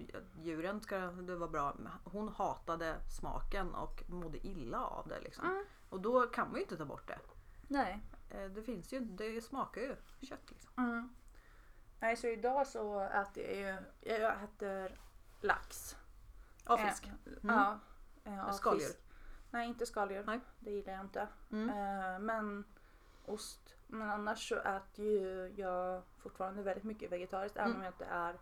[SPEAKER 2] djuren ska det vara bra. men Hon hatade smaken och mådde illa av det liksom.
[SPEAKER 1] Mm.
[SPEAKER 2] Och då kan man ju inte ta bort det.
[SPEAKER 1] Nej.
[SPEAKER 2] Eh, Det finns ju, det smakar ju kött liksom.
[SPEAKER 1] Mm. Nej, så idag så äter jag ju, jag äter lax.
[SPEAKER 2] Av fisk.
[SPEAKER 1] Eh,
[SPEAKER 2] Mm.
[SPEAKER 1] Ja. eh, av
[SPEAKER 2] Skaldjur.
[SPEAKER 1] fisk. Nej, inte skaldjur.
[SPEAKER 2] Nej.
[SPEAKER 1] Det gillar jag inte.
[SPEAKER 2] Mm.
[SPEAKER 1] Eh, men ost. Men annars så äter ju jag fortfarande väldigt mycket vegetariskt även
[SPEAKER 2] Mm.
[SPEAKER 1] om jag inte är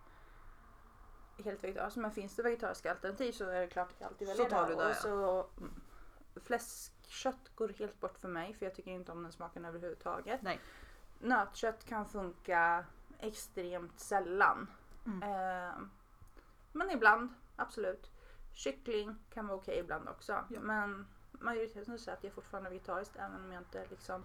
[SPEAKER 1] helt vegetarisk. Men finns det vegetariska alternativ så är det klart att jag alltid
[SPEAKER 2] Så
[SPEAKER 1] väljer
[SPEAKER 2] tar
[SPEAKER 1] det.
[SPEAKER 2] du det,
[SPEAKER 1] Och
[SPEAKER 2] ja.
[SPEAKER 1] så mm, Fläskkött går helt bort för mig för jag tycker inte om den smaken överhuvudtaget.
[SPEAKER 2] Nej.
[SPEAKER 1] Nötkött kan funka extremt sällan.
[SPEAKER 2] Mm.
[SPEAKER 1] Eh, men ibland, absolut. Kyckling kan vara okej ibland också.
[SPEAKER 2] Ja.
[SPEAKER 1] Men majoriteten säger att jag fortfarande är vegetariskt även om jag inte liksom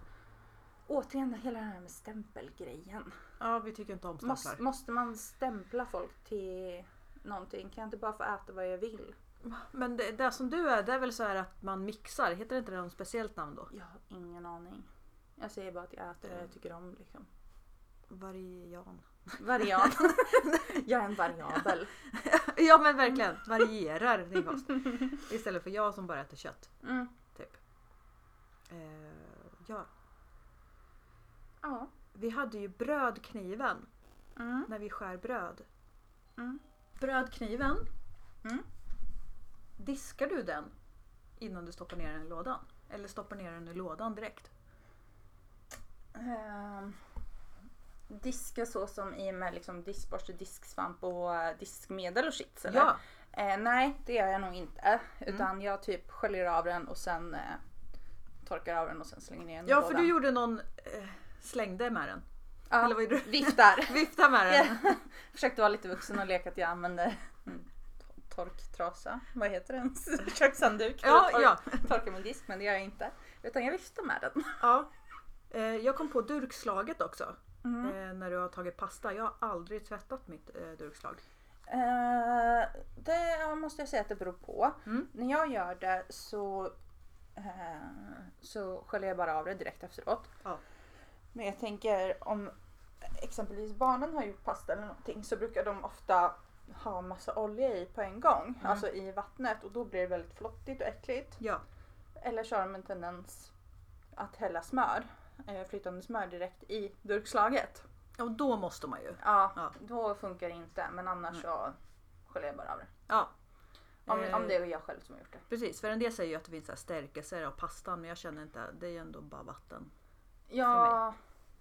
[SPEAKER 1] Återigen hela den här med stämpelgrejen.
[SPEAKER 2] Ja, vi tycker inte om
[SPEAKER 1] Måste,
[SPEAKER 2] stämplar.
[SPEAKER 1] måste man stämpla folk till någonting? Kan jag inte bara få äta vad jag vill?
[SPEAKER 2] Men det, det som du är, det är väl så här att man mixar? Heter inte det något speciellt namn då?
[SPEAKER 1] Jag har ingen aning. Jag säger bara att jag äter det jag tycker om liksom. [laughs]
[SPEAKER 2] Varian.
[SPEAKER 1] Varian. [laughs] jag är en variabel.
[SPEAKER 2] [laughs] ja men verkligen, varierar
[SPEAKER 1] [laughs]
[SPEAKER 2] din kost. Istället för jag som bara äter kött.
[SPEAKER 1] Mm.
[SPEAKER 2] Typ. Eh, ja.
[SPEAKER 1] Ja.
[SPEAKER 2] Vi hade ju brödkniven
[SPEAKER 1] Mm.
[SPEAKER 2] när vi skär bröd.
[SPEAKER 1] Mm.
[SPEAKER 2] Brödkniven.
[SPEAKER 1] Mm.
[SPEAKER 2] Diskar du den innan du stoppar ner den i lådan? Eller stoppar ner den i lådan direkt?
[SPEAKER 1] Ehm, diska så som i med liksom diskborste, disksvamp och eh, diskmedel och shit. Eller?
[SPEAKER 2] Ja.
[SPEAKER 1] Eh, nej, det gör jag nog inte.
[SPEAKER 2] Mm.
[SPEAKER 1] Utan jag typ sköljer av den och sen eh, torkar av den och sen slänger ner den i
[SPEAKER 2] ja, för
[SPEAKER 1] lådan.
[SPEAKER 2] du gjorde någon eh, slängde med den.
[SPEAKER 1] Ja,
[SPEAKER 2] Eller vad gjorde du? [laughs]
[SPEAKER 1] Viftar.
[SPEAKER 2] Vifta med den.
[SPEAKER 1] Försökte vara lite vuxen och leka att jag använder mm, to- torktrasa. Vad heter den? [laughs] Kökshandduk. för [laughs]
[SPEAKER 2] Ja,
[SPEAKER 1] att tor-
[SPEAKER 2] ja.
[SPEAKER 1] Torka min disk, men det gör jag inte. Utan jag viftar med den.
[SPEAKER 2] ja. Eh, jag kom på durkslaget också.
[SPEAKER 1] Mm.
[SPEAKER 2] Eh, när du har tagit pasta. Jag har aldrig tvättat mitt eh, durkslag.
[SPEAKER 1] Eh, det måste jag säga att det beror på.
[SPEAKER 2] Mm.
[SPEAKER 1] När jag gör det så, eh, så sköljer jag bara av det direkt efteråt.
[SPEAKER 2] Ja.
[SPEAKER 1] Men jag tänker om exempelvis barnen har gjort pasta eller någonting så brukar de ofta ha massa olja i på en gång,
[SPEAKER 2] Mm.
[SPEAKER 1] alltså i vattnet och då blir det väldigt flottigt och äckligt.
[SPEAKER 2] Ja.
[SPEAKER 1] Eller så har de en tendens att hälla smör, eh, flytande smör direkt i durkslaget.
[SPEAKER 2] Och då måste man ju.
[SPEAKER 1] Ja,
[SPEAKER 2] Ja. Mm.
[SPEAKER 1] då funkar det inte men annars så sköljer jag bara av det.
[SPEAKER 2] Ja.
[SPEAKER 1] Om,
[SPEAKER 2] Eh,
[SPEAKER 1] om det är jag själv som har gjort det.
[SPEAKER 2] Precis, för en del säger ju att det finns så här stärkelser av pastan men jag känner inte, det är ju ändå bara vatten.
[SPEAKER 1] Ja,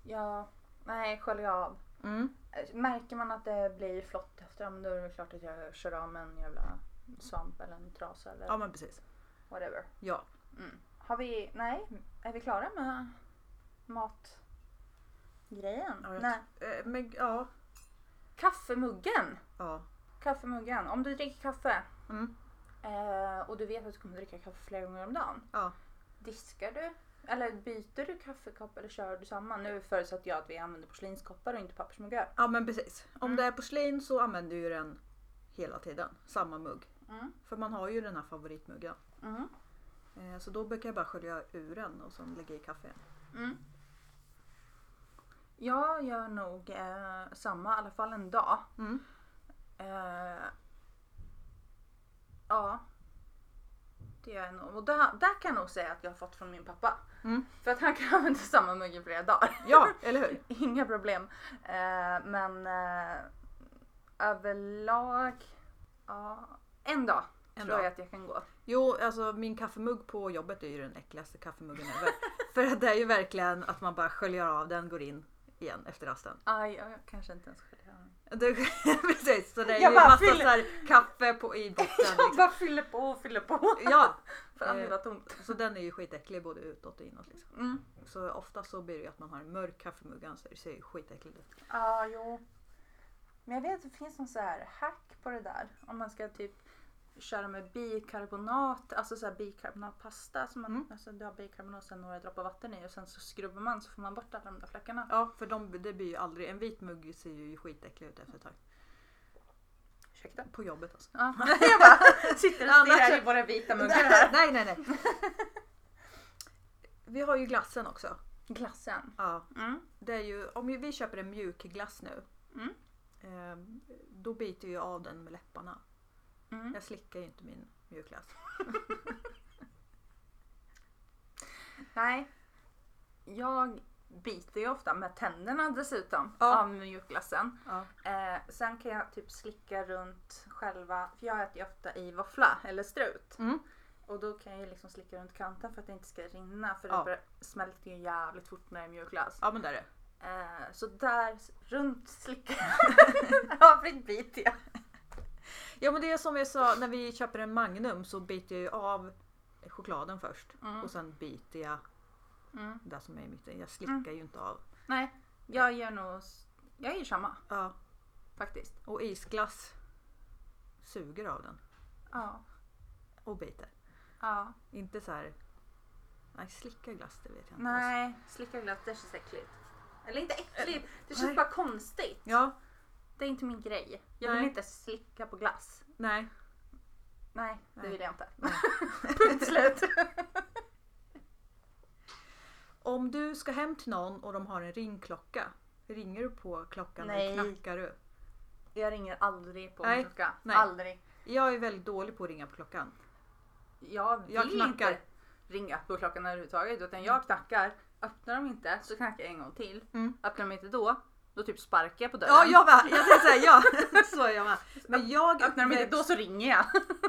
[SPEAKER 1] ja, nej sköljer jag av.
[SPEAKER 2] Mm.
[SPEAKER 1] Eh, Märker man att det blir flott efter dem då är det klart att jag kör av med en jävla svamp eller en trasa eller
[SPEAKER 2] Ja men precis.
[SPEAKER 1] whatever.
[SPEAKER 2] Ja.
[SPEAKER 1] Mm. Har vi, nej, är vi klara med matgrejen?
[SPEAKER 2] Ja, jag
[SPEAKER 1] Nej,
[SPEAKER 2] Eh, Men ja.
[SPEAKER 1] kaffemuggen!
[SPEAKER 2] Ja.
[SPEAKER 1] Kaffemuggen, om du dricker kaffe
[SPEAKER 2] Mm.
[SPEAKER 1] eh, och du vet att du kommer dricka kaffe flera gånger om dagen.
[SPEAKER 2] ja.
[SPEAKER 1] Diskar du? Eller byter du kaffekopp eller kör du samma? Nu förutsätter jag att vi använder porslinskoppar och inte pappersmuggar.
[SPEAKER 2] Ja men precis. Om
[SPEAKER 1] Mm.
[SPEAKER 2] det är porslin så använder du ju den hela tiden. Samma mugg.
[SPEAKER 1] Mm.
[SPEAKER 2] För man har ju den här favoritmuggen.
[SPEAKER 1] Mm.
[SPEAKER 2] Eh, Så då brukar jag bara skölja ur den och sen lägga i
[SPEAKER 1] [laughs]
[SPEAKER 2] kaffe.
[SPEAKER 1] Mm. Jag gör nog eh, samma, i alla fall en dag.
[SPEAKER 2] Mm.
[SPEAKER 1] Eh, ja. Det gör jag nog. Och där, där kan jag nog säga att jag har fått från min pappa.
[SPEAKER 2] Mm.
[SPEAKER 1] För att han kan [laughs] använda samma mugg i flera dagar.
[SPEAKER 2] Ja, eller hur?
[SPEAKER 1] [laughs] Inga problem. Eh, men eh, överlag, ja. En dag
[SPEAKER 2] En
[SPEAKER 1] tror
[SPEAKER 2] dag.
[SPEAKER 1] jag att jag kan gå.
[SPEAKER 2] Jo, alltså min kaffemugg på jobbet är ju den äckligaste kaffemuggen
[SPEAKER 1] [laughs]
[SPEAKER 2] ever. För att det är ju verkligen att man bara sköljer av den, går in igen efter rasten.
[SPEAKER 1] Aj, jag kanske inte ens skulle göra det.
[SPEAKER 2] Du, [laughs] precis, så det är
[SPEAKER 1] Jag
[SPEAKER 2] ju
[SPEAKER 1] bara
[SPEAKER 2] massa
[SPEAKER 1] fyller-
[SPEAKER 2] så här kaffe på, i botten.
[SPEAKER 1] Jag [laughs]
[SPEAKER 2] Liksom.
[SPEAKER 1] bara fyller på och fyller på.
[SPEAKER 2] Ja,
[SPEAKER 1] [laughs] För att det var tomt.
[SPEAKER 2] så den är ju skitäcklig både utåt och inåt. Liksom.
[SPEAKER 1] Mm.
[SPEAKER 2] Så ofta så blir det ju att man har en mörk kaffemugg annars det ser ju skitäckligt ut.
[SPEAKER 1] Ja, jo. Men jag vet att det finns någon så här hack på det där. Om man ska typ köra med bikarbonat, alltså så här bikarbonatpasta. Som man,
[SPEAKER 2] Mm.
[SPEAKER 1] Alltså du har bikarbonat och sen några droppar vatten i och sen så skrubbar man så får man bort alla de där fläckarna.
[SPEAKER 2] Ja, för de, det blir ju aldrig, en vit mugg ser ju skitäcklig ut efter ett tag.
[SPEAKER 1] Ursäkta?
[SPEAKER 2] På jobbet
[SPEAKER 1] [laughs]
[SPEAKER 2] alltså.
[SPEAKER 1] Ja, jag bara sitter och stirrar
[SPEAKER 2] Annars-
[SPEAKER 1] i våra vita muggar här.
[SPEAKER 2] nej, nej, nej. Vi har ju glassen också.
[SPEAKER 1] [laughs] Glassen.
[SPEAKER 2] Ja.
[SPEAKER 1] Mm.
[SPEAKER 2] Det är ju, om vi köper en mjuk glass nu.
[SPEAKER 1] Mm.
[SPEAKER 2] ehm, Då biter jag av den med läpparna.
[SPEAKER 1] Mm.
[SPEAKER 2] Jag slickar ju inte min mjukglass.
[SPEAKER 1] Nej. Jag biter ju ofta med tänderna dessutom
[SPEAKER 2] Ja.
[SPEAKER 1] av mjukglassen.
[SPEAKER 2] Ja.
[SPEAKER 1] Eh, sen kan jag typ slicka runt själva, för jag äter ju ofta i våffla eller strut.
[SPEAKER 2] Mm.
[SPEAKER 1] Och då kan jag ju liksom slicka runt kanten för att det inte ska rinna för
[SPEAKER 2] Ja.
[SPEAKER 1] det bör- smälter ju jävligt fort när det är mjukglass.
[SPEAKER 2] ja men där är det.
[SPEAKER 1] Eh, så där s- runt [laughs] slickar jag. Övrigt biter jag.
[SPEAKER 2] Ja men det är som jag sa, när vi köper en Magnum så biter jag ju av chokladen först.
[SPEAKER 1] Mm.
[SPEAKER 2] Och sen biter jag
[SPEAKER 1] Mm.
[SPEAKER 2] det som är i mitten. Jag slickar ju inte av.
[SPEAKER 1] Nej, jag gör nog, s- jag gör samma
[SPEAKER 2] Ja.
[SPEAKER 1] faktiskt.
[SPEAKER 2] Och isglass suger av den
[SPEAKER 1] Ja,
[SPEAKER 2] och biter.
[SPEAKER 1] ja.
[SPEAKER 2] Inte så här. Nej, slicka glass det vet jag inte. alltså.
[SPEAKER 1] Äh, Nej, slicka glass det känns äckligt. Eller inte äckligt, det känns
[SPEAKER 2] nej.
[SPEAKER 1] bara konstigt.
[SPEAKER 2] Ja.
[SPEAKER 1] Det är inte min grej. Jag vill
[SPEAKER 2] Nej.
[SPEAKER 1] inte slicka på glass.
[SPEAKER 2] Nej.
[SPEAKER 1] Nej, det
[SPEAKER 2] Nej.
[SPEAKER 1] vill jag inte.
[SPEAKER 2] Nej.
[SPEAKER 1] [laughs] Punkt slut.
[SPEAKER 2] Om du ska hem till någon och de har en ringklocka, ringer du på klockan
[SPEAKER 1] Nej.
[SPEAKER 2] eller knackar du?
[SPEAKER 1] Jag ringer aldrig på
[SPEAKER 2] Nej.
[SPEAKER 1] min klocka.
[SPEAKER 2] Nej.
[SPEAKER 1] Aldrig.
[SPEAKER 2] Jag är väldigt dålig på att ringa på klockan.
[SPEAKER 1] Jag vill
[SPEAKER 2] Jag knackar.
[SPEAKER 1] inte ringa på klockan överhuvudtaget utan jag knackar. Öppnar de inte så knackar jag en gång till.
[SPEAKER 2] Mm.
[SPEAKER 1] Öppnar de inte då, då typ sparkar jag på dörren.
[SPEAKER 2] Ja, jag med! Jag tänkte säga ja. [laughs] Så är jag med. Men jag är,
[SPEAKER 1] Öppnar de inte
[SPEAKER 2] uppväxt,
[SPEAKER 1] då så ringer jag.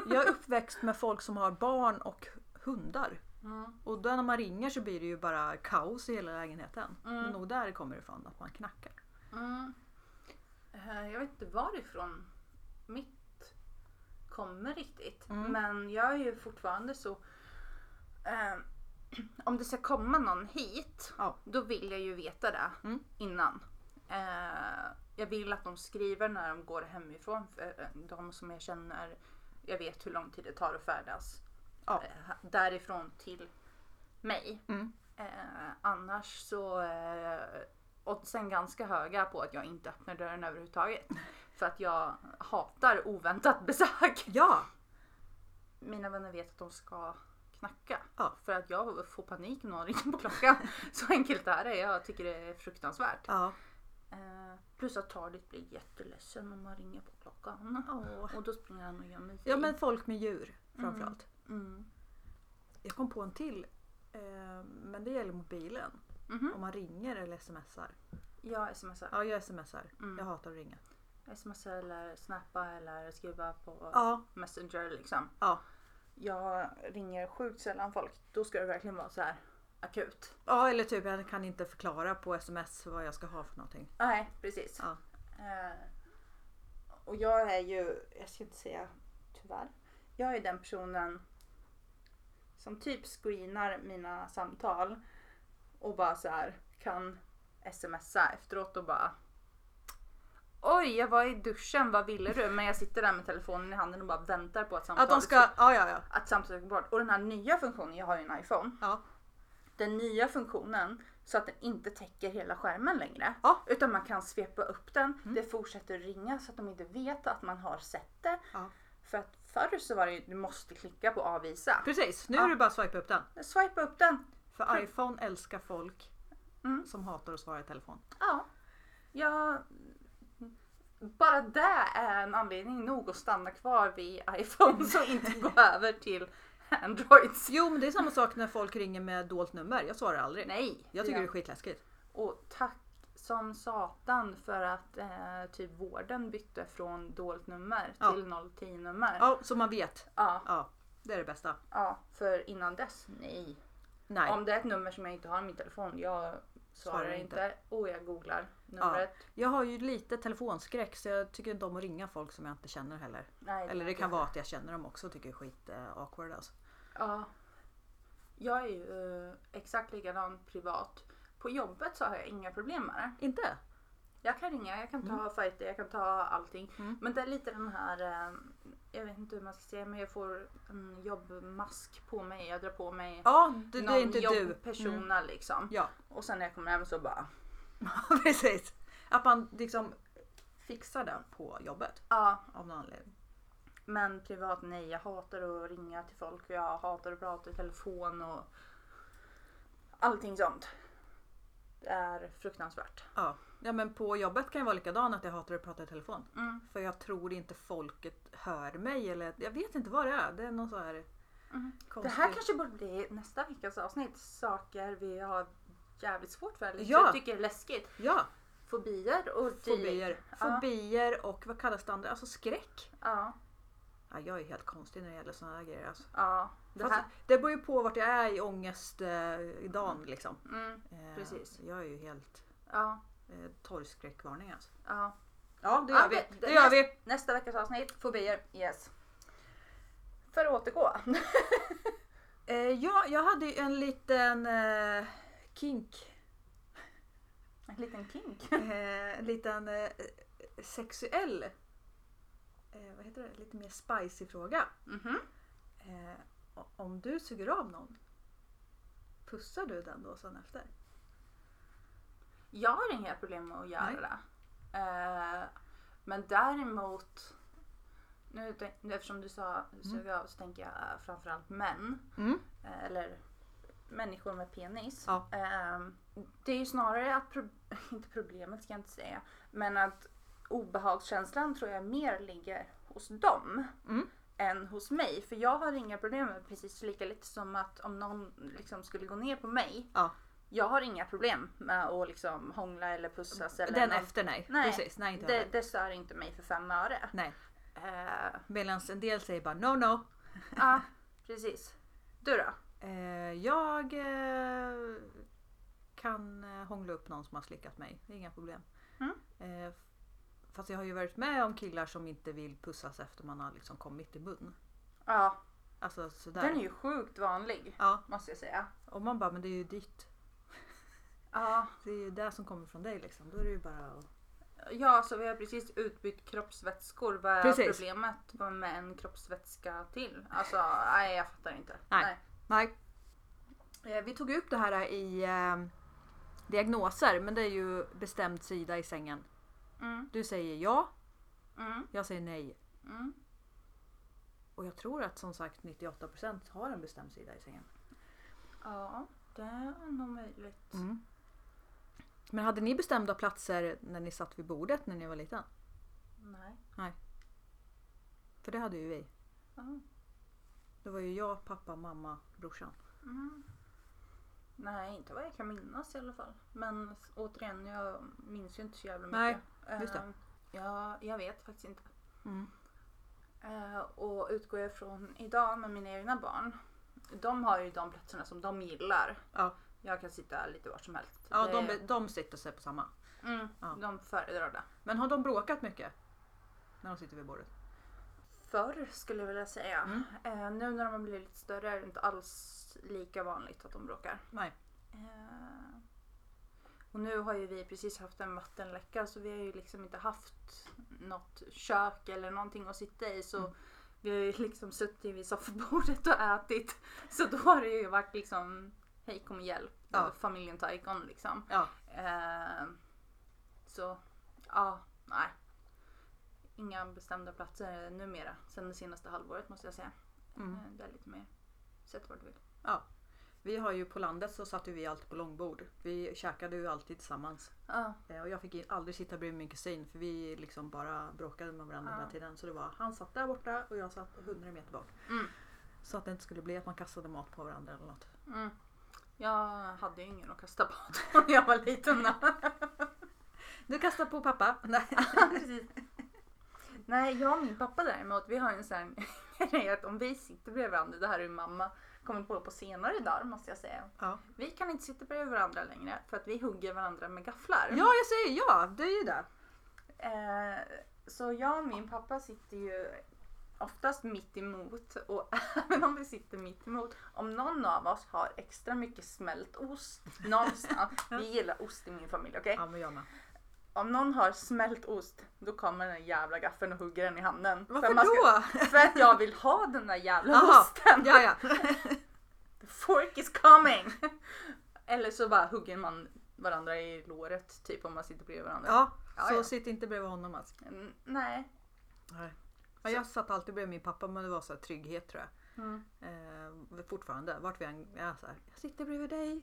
[SPEAKER 2] jag är uppväxt med folk som har barn och hundar.
[SPEAKER 1] Mm.
[SPEAKER 2] Och då när man ringer så blir det ju bara kaos i hela lägenheten.
[SPEAKER 1] Mm.
[SPEAKER 2] Nog där det kommer ifrån, att man knackar.
[SPEAKER 1] Mm. Eh, Jag vet inte varifrån mitt kommer riktigt.
[SPEAKER 2] Mm.
[SPEAKER 1] Men jag är ju fortfarande så... eh, om det ska komma någon hit,
[SPEAKER 2] Ja.
[SPEAKER 1] då vill jag ju veta det
[SPEAKER 2] Mm.
[SPEAKER 1] innan. Eh, jag vill att de skriver när de går hemifrån. För eh, de som jag känner, jag vet hur lång tid det tar att färdas.
[SPEAKER 2] Ja.
[SPEAKER 1] eh, därifrån till mig.
[SPEAKER 2] Mm.
[SPEAKER 1] Eh, annars så... Eh, och sen ganska höga på att jag inte öppnar dörren överhuvudtaget. För att jag hatar oväntat besök.
[SPEAKER 2] Ja!
[SPEAKER 1] Mina vänner vet att de ska knacka.
[SPEAKER 2] Ja.
[SPEAKER 1] För att jag får panik om någon ringer på klockan. [laughs] Så enkelt är det. Jag tycker det är fruktansvärt.
[SPEAKER 2] ja.
[SPEAKER 1] Eh, plus att Tardit blir jätteledsen om man ringer på klockan.
[SPEAKER 2] Åh.
[SPEAKER 1] Och då springer han och gömmer sig.
[SPEAKER 2] Ja men folk med djur framförallt.
[SPEAKER 1] Mm.
[SPEAKER 2] Jag kom på en till. eh, Men det gäller mobilen.
[SPEAKER 1] Mhm.
[SPEAKER 2] Om man ringer eller smsar.
[SPEAKER 1] Jag smsar.
[SPEAKER 2] Ja, jag smsar.
[SPEAKER 1] Mm.
[SPEAKER 2] Jag hatar att ringa.
[SPEAKER 1] Smsar eller snappa eller skriva på
[SPEAKER 2] Ja,
[SPEAKER 1] Messenger liksom.
[SPEAKER 2] ja.
[SPEAKER 1] Jag ringer sjukt sällan folk. Då ska det verkligen vara så här akut.
[SPEAKER 2] ja eller typ jag kan inte förklara på sms vad jag ska ha för någonting.
[SPEAKER 1] Nej, precis.
[SPEAKER 2] Ja.
[SPEAKER 1] Eh, och jag är ju, jag ska inte säga tyvärr, jag är den personen som typ screenar mina samtal och bara så här kan smsa efteråt och bara Oj, jag var i duschen, vad ville du? Men jag sitter där med telefonen i handen och bara väntar på att
[SPEAKER 2] Att
[SPEAKER 1] samtalet
[SPEAKER 2] de ska... Ja, ja, ja.
[SPEAKER 1] att samtalet går bort. Och den här nya funktionen, jag har ju en iPhone.
[SPEAKER 2] Ja.
[SPEAKER 1] Den nya funktionen så att den inte täcker hela skärmen längre.
[SPEAKER 2] Ja. Mm.
[SPEAKER 1] Utan man kan svepa upp den. Det fortsätter ringa så att de inte vet att man har sett det.
[SPEAKER 2] ja.
[SPEAKER 1] För att förr så var det ju, du måste klicka på avvisa.
[SPEAKER 2] Precis, nu
[SPEAKER 1] Ja.
[SPEAKER 2] är det bara att swipa upp den.
[SPEAKER 1] Swipa upp den.
[SPEAKER 2] För iPhone älskar folk
[SPEAKER 1] Mm.
[SPEAKER 2] som hatar att svara i telefon.
[SPEAKER 1] Ja. ja. Bara det är en anledning nog att stanna kvar vid iPhone så inte
[SPEAKER 2] [laughs]
[SPEAKER 1] gå över till Androids.
[SPEAKER 2] Jo men det är samma sak när folk ringer med dolt nummer. Jag svarar aldrig.
[SPEAKER 1] Nej.
[SPEAKER 2] Jag tycker
[SPEAKER 1] Ja.
[SPEAKER 2] det är skitläskigt.
[SPEAKER 1] Och tack som satan för att eh, typ vården bytte från dolt nummer
[SPEAKER 2] Ja.
[SPEAKER 1] till 010-nummer. Ja.
[SPEAKER 2] Ja, så man vet.
[SPEAKER 1] Ja,
[SPEAKER 2] Ja, det är det bästa.
[SPEAKER 1] för innan dess, nej.
[SPEAKER 2] Nej.
[SPEAKER 1] Om det är ett nummer som jag inte har i min telefon, jag svarar
[SPEAKER 2] Svarar
[SPEAKER 1] inte. Och jag googlar numret.
[SPEAKER 2] Jag har ju lite telefonskräck så jag tycker inte om att ringa folk som jag inte känner heller.
[SPEAKER 1] Nej,
[SPEAKER 2] Eller det
[SPEAKER 1] är
[SPEAKER 2] kan
[SPEAKER 1] inte.
[SPEAKER 2] vara att jag känner dem också och tycker det är skit eh, awkward alltså.
[SPEAKER 1] Ja. Jag är ju eh, exakt likadan privat. På jobbet så har jag inga problem med det.
[SPEAKER 2] Inte?
[SPEAKER 1] Jag kan ringa, jag kan ta fighter, jag kan ta allting.
[SPEAKER 2] Mm.
[SPEAKER 1] Men det är lite den här, eh, jag vet inte hur man ska säga, men jag får en jobbmask på mig. Jag drar på mig
[SPEAKER 2] Ja, det, det är inte du. Mm.
[SPEAKER 1] jobbpersona liksom.
[SPEAKER 2] Ja, [laughs]
[SPEAKER 1] Och sen när jag kommer hem så bara,
[SPEAKER 2] precis. Att man liksom fixar det på jobbet
[SPEAKER 1] ja.
[SPEAKER 2] av någon anledning.
[SPEAKER 1] Men privat, nej. Jag hatar att ringa till folk och jag hatar att prata i telefon och allting sånt. Det är fruktansvärt.
[SPEAKER 2] Ja. ja, men på jobbet kan jag vara likadan att jag hatar att prata i telefon.
[SPEAKER 1] Mm.
[SPEAKER 2] För jag tror inte folket hör mig eller jag vet inte vad det är. Det är någon så här
[SPEAKER 1] Mm. Det
[SPEAKER 2] konstig...
[SPEAKER 1] här kanske borde bli nästa veckas avsnitt. Saker vi har jävligt svårt för. eller
[SPEAKER 2] Ja.
[SPEAKER 1] Jag tycker det är läskigt.
[SPEAKER 2] Ja,
[SPEAKER 1] Fobier och dylikt.
[SPEAKER 2] fobier.
[SPEAKER 1] Ja.
[SPEAKER 2] Fobier och vad kallas det andra? Alltså skräck.
[SPEAKER 1] Ja,
[SPEAKER 2] Ja, jag är helt konstig när det gäller sådana här grejer alltså.
[SPEAKER 1] ja. Det
[SPEAKER 2] Fast
[SPEAKER 1] här.
[SPEAKER 2] det beror ju på vart jag är i ångestdagen liksom.
[SPEAKER 1] Mm,
[SPEAKER 2] Eh,
[SPEAKER 1] Precis.
[SPEAKER 2] Jag är ju helt
[SPEAKER 1] ja,
[SPEAKER 2] eh, torgskräckvarning alltså.
[SPEAKER 1] ja.
[SPEAKER 2] Ja, det
[SPEAKER 1] Ja,
[SPEAKER 2] gör vi.
[SPEAKER 1] det-
[SPEAKER 2] Det,
[SPEAKER 1] det-
[SPEAKER 2] gör vi.
[SPEAKER 1] Nästa veckas avsnitt, fobier. Yes. För att återgå.
[SPEAKER 2] Eh, ja, jag hade ju en liten eh, kink.
[SPEAKER 1] En liten kink.
[SPEAKER 2] Eh, en liten eh, sexuell, eh, vad heter det, lite mer spicy fråga.
[SPEAKER 1] Mhm.
[SPEAKER 2] Eh, o- om du suger av någon, pussar du den då sen efter?
[SPEAKER 1] Jag har inga problem med att göra
[SPEAKER 2] Nej.
[SPEAKER 1] det. Eh, Men däremot, nu, tän- nu eftersom du sa suga av så tänker jag eh, framförallt män.
[SPEAKER 2] Mm.
[SPEAKER 1] eh, eller människor med penis.
[SPEAKER 2] Ja.
[SPEAKER 1] Ehm, det är ju snarare att, pro- [laughs] inte problemet ska jag inte säga, men att obehagskänslan tror jag mer ligger hos dem
[SPEAKER 2] Mm.
[SPEAKER 1] än hos mig. För jag har inga problem med precis lika lite som att om någon liksom skulle gå ner på mig.
[SPEAKER 2] Ja.
[SPEAKER 1] Jag har inga problem med att liksom hångla eller pussas. Eller
[SPEAKER 2] Den
[SPEAKER 1] någon-
[SPEAKER 2] efter nej.
[SPEAKER 1] Nej,
[SPEAKER 2] Precis, nej inte
[SPEAKER 1] det,
[SPEAKER 2] heller.
[SPEAKER 1] det stör inte mig för fem öre.
[SPEAKER 2] Nej. [laughs]
[SPEAKER 1] Eh,
[SPEAKER 2] Medan en del säger bara no no.
[SPEAKER 1] ja, precis. Du då?
[SPEAKER 2] Eh, jag eh, kan eh, hångla upp någon som har slickat mig. Det är inga problem.
[SPEAKER 1] Mm.
[SPEAKER 2] Eh, f- fast jag har ju varit med om killar som inte vill pussas efter man har liksom kommit i mun.
[SPEAKER 1] Ja,
[SPEAKER 2] Alltså sådär.
[SPEAKER 1] den är ju sjukt vanlig.
[SPEAKER 2] Ja,
[SPEAKER 1] måste jag säga.
[SPEAKER 2] och man bara men det är ju ditt.
[SPEAKER 1] Ja,
[SPEAKER 2] Det är ju det som kommer från dig liksom. Då är det ju bara att...
[SPEAKER 1] ja så vi har precis utbytt kroppsvätskor. Vad är
[SPEAKER 2] Precis.
[SPEAKER 1] problemet med en kroppsvätska till? Alltså, nej jag fattar inte.
[SPEAKER 2] Nej. Nej. Eh, Vi tog upp det här i eh, diagnoser men det är ju bestämd sida i sängen.
[SPEAKER 1] Mm,
[SPEAKER 2] Du säger ja,
[SPEAKER 1] mm,
[SPEAKER 2] jag säger nej.
[SPEAKER 1] mm.
[SPEAKER 2] Och jag tror att som sagt 98% har en bestämd sida i sängen.
[SPEAKER 1] Ja, det är nog möjligt.
[SPEAKER 2] Mm. Men hade ni bestämda platser när ni satt vid bordet när ni var liten?
[SPEAKER 1] Nej.
[SPEAKER 2] För det hade ju vi.
[SPEAKER 1] Ja.
[SPEAKER 2] Det var ju jag, pappa, mamma, brorsan.
[SPEAKER 1] Mm. Nej, inte vad jag kan minnas i alla fall. Men s- återigen, jag minns ju inte så jävla mycket.
[SPEAKER 2] Nej, just det.
[SPEAKER 1] Eh, ja, jag vet faktiskt inte.
[SPEAKER 2] Mm.
[SPEAKER 1] Eh, och utgår jag från idag med mina egna barn. De har ju de platserna som de gillar.
[SPEAKER 2] Ja.
[SPEAKER 1] Jag kan sitta lite var som helst.
[SPEAKER 2] Ja,
[SPEAKER 1] Det-
[SPEAKER 2] de, be- de sitter sig på samma.
[SPEAKER 1] mm,
[SPEAKER 2] ja.
[SPEAKER 1] de föredrar det.
[SPEAKER 2] Men har de bråkat mycket? När de sitter vid bordet?
[SPEAKER 1] Förr skulle jag vilja säga.
[SPEAKER 2] Mm.
[SPEAKER 1] Eh, nu när de har blivit lite större är det inte alls lika vanligt att de bråkar.
[SPEAKER 2] Nej.
[SPEAKER 1] Eh, och nu har ju vi precis haft en vattenläcka så vi har ju liksom inte haft något kök eller någonting att sitta i.
[SPEAKER 2] Mm.
[SPEAKER 1] Så vi har ju liksom suttit vid soffbordet och ätit. Så då har det ju varit liksom hej kom och hjälp.
[SPEAKER 2] Ja.
[SPEAKER 1] Familjen Taikon liksom.
[SPEAKER 2] Ja.
[SPEAKER 1] Eh, så ja, nej. Inga bestämda platser numera. Sen det senaste halvåret måste jag säga.
[SPEAKER 2] Mm.
[SPEAKER 1] Eh, Det är lite mer sätt vart du vill.
[SPEAKER 2] Vi har ju på landet så satt ju vi alltid på långbord. Vi käkade ju alltid tillsammans.
[SPEAKER 1] Ja,
[SPEAKER 2] Eh, Och jag fick ju aldrig sitta bredvid min kusin för vi liksom bara bråkade med varandra
[SPEAKER 1] Ja.
[SPEAKER 2] hela tiden. Så det var han satt där borta och jag satt 100 meter bak.
[SPEAKER 1] Mm.
[SPEAKER 2] Så att det inte skulle bli att man kastade mat på varandra eller något.
[SPEAKER 1] mm. Jag hade ju ingen att kasta på när jag var liten.
[SPEAKER 2] Du kastar på pappa. [laughs] Nej.
[SPEAKER 1] Precis. Nej, jag och min pappa däremot, vi har en sån här [laughs] grej att om vi sitter bredvid varandra, det här är ju mamma kommit på på senare dagar måste jag säga.
[SPEAKER 2] Ja.
[SPEAKER 1] Vi kan inte sitta bredvid varandra längre för att vi hugger varandra med gafflar.
[SPEAKER 2] Ja, jag säger ja. Det är ju det.
[SPEAKER 1] Eh, så jag och min pappa sitter ju oftast mitt emot och [laughs] även om vi sitter mitt emot om någon av oss har extra mycket smält ost
[SPEAKER 2] [laughs]
[SPEAKER 1] någonstans. vi gillar ost i min familj, okej?
[SPEAKER 2] Ja, men jag med.
[SPEAKER 1] Om någon har smält ost då kommer den där jävla gaffeln och hugger den i handen.
[SPEAKER 2] Varför
[SPEAKER 1] För man ska- [laughs]
[SPEAKER 2] då?
[SPEAKER 1] För att jag vill ha den där jävla
[SPEAKER 2] Jaha.
[SPEAKER 1] osten.
[SPEAKER 2] Ja, ja.
[SPEAKER 1] The fork is coming! [laughs] Eller så bara hugger man varandra i låret typ om man sitter bredvid varandra.
[SPEAKER 2] ja.
[SPEAKER 1] Ja,
[SPEAKER 2] Så
[SPEAKER 1] ja.
[SPEAKER 2] sitt inte bredvid honom alltså.
[SPEAKER 1] Mm, nej.
[SPEAKER 2] Nej. Ja, jag satt alltid bredvid min pappa men det var så här trygghet tror jag.
[SPEAKER 1] Mm.
[SPEAKER 2] Eh, fortfarande, vart vi än är så här. Jag sitter bredvid dig.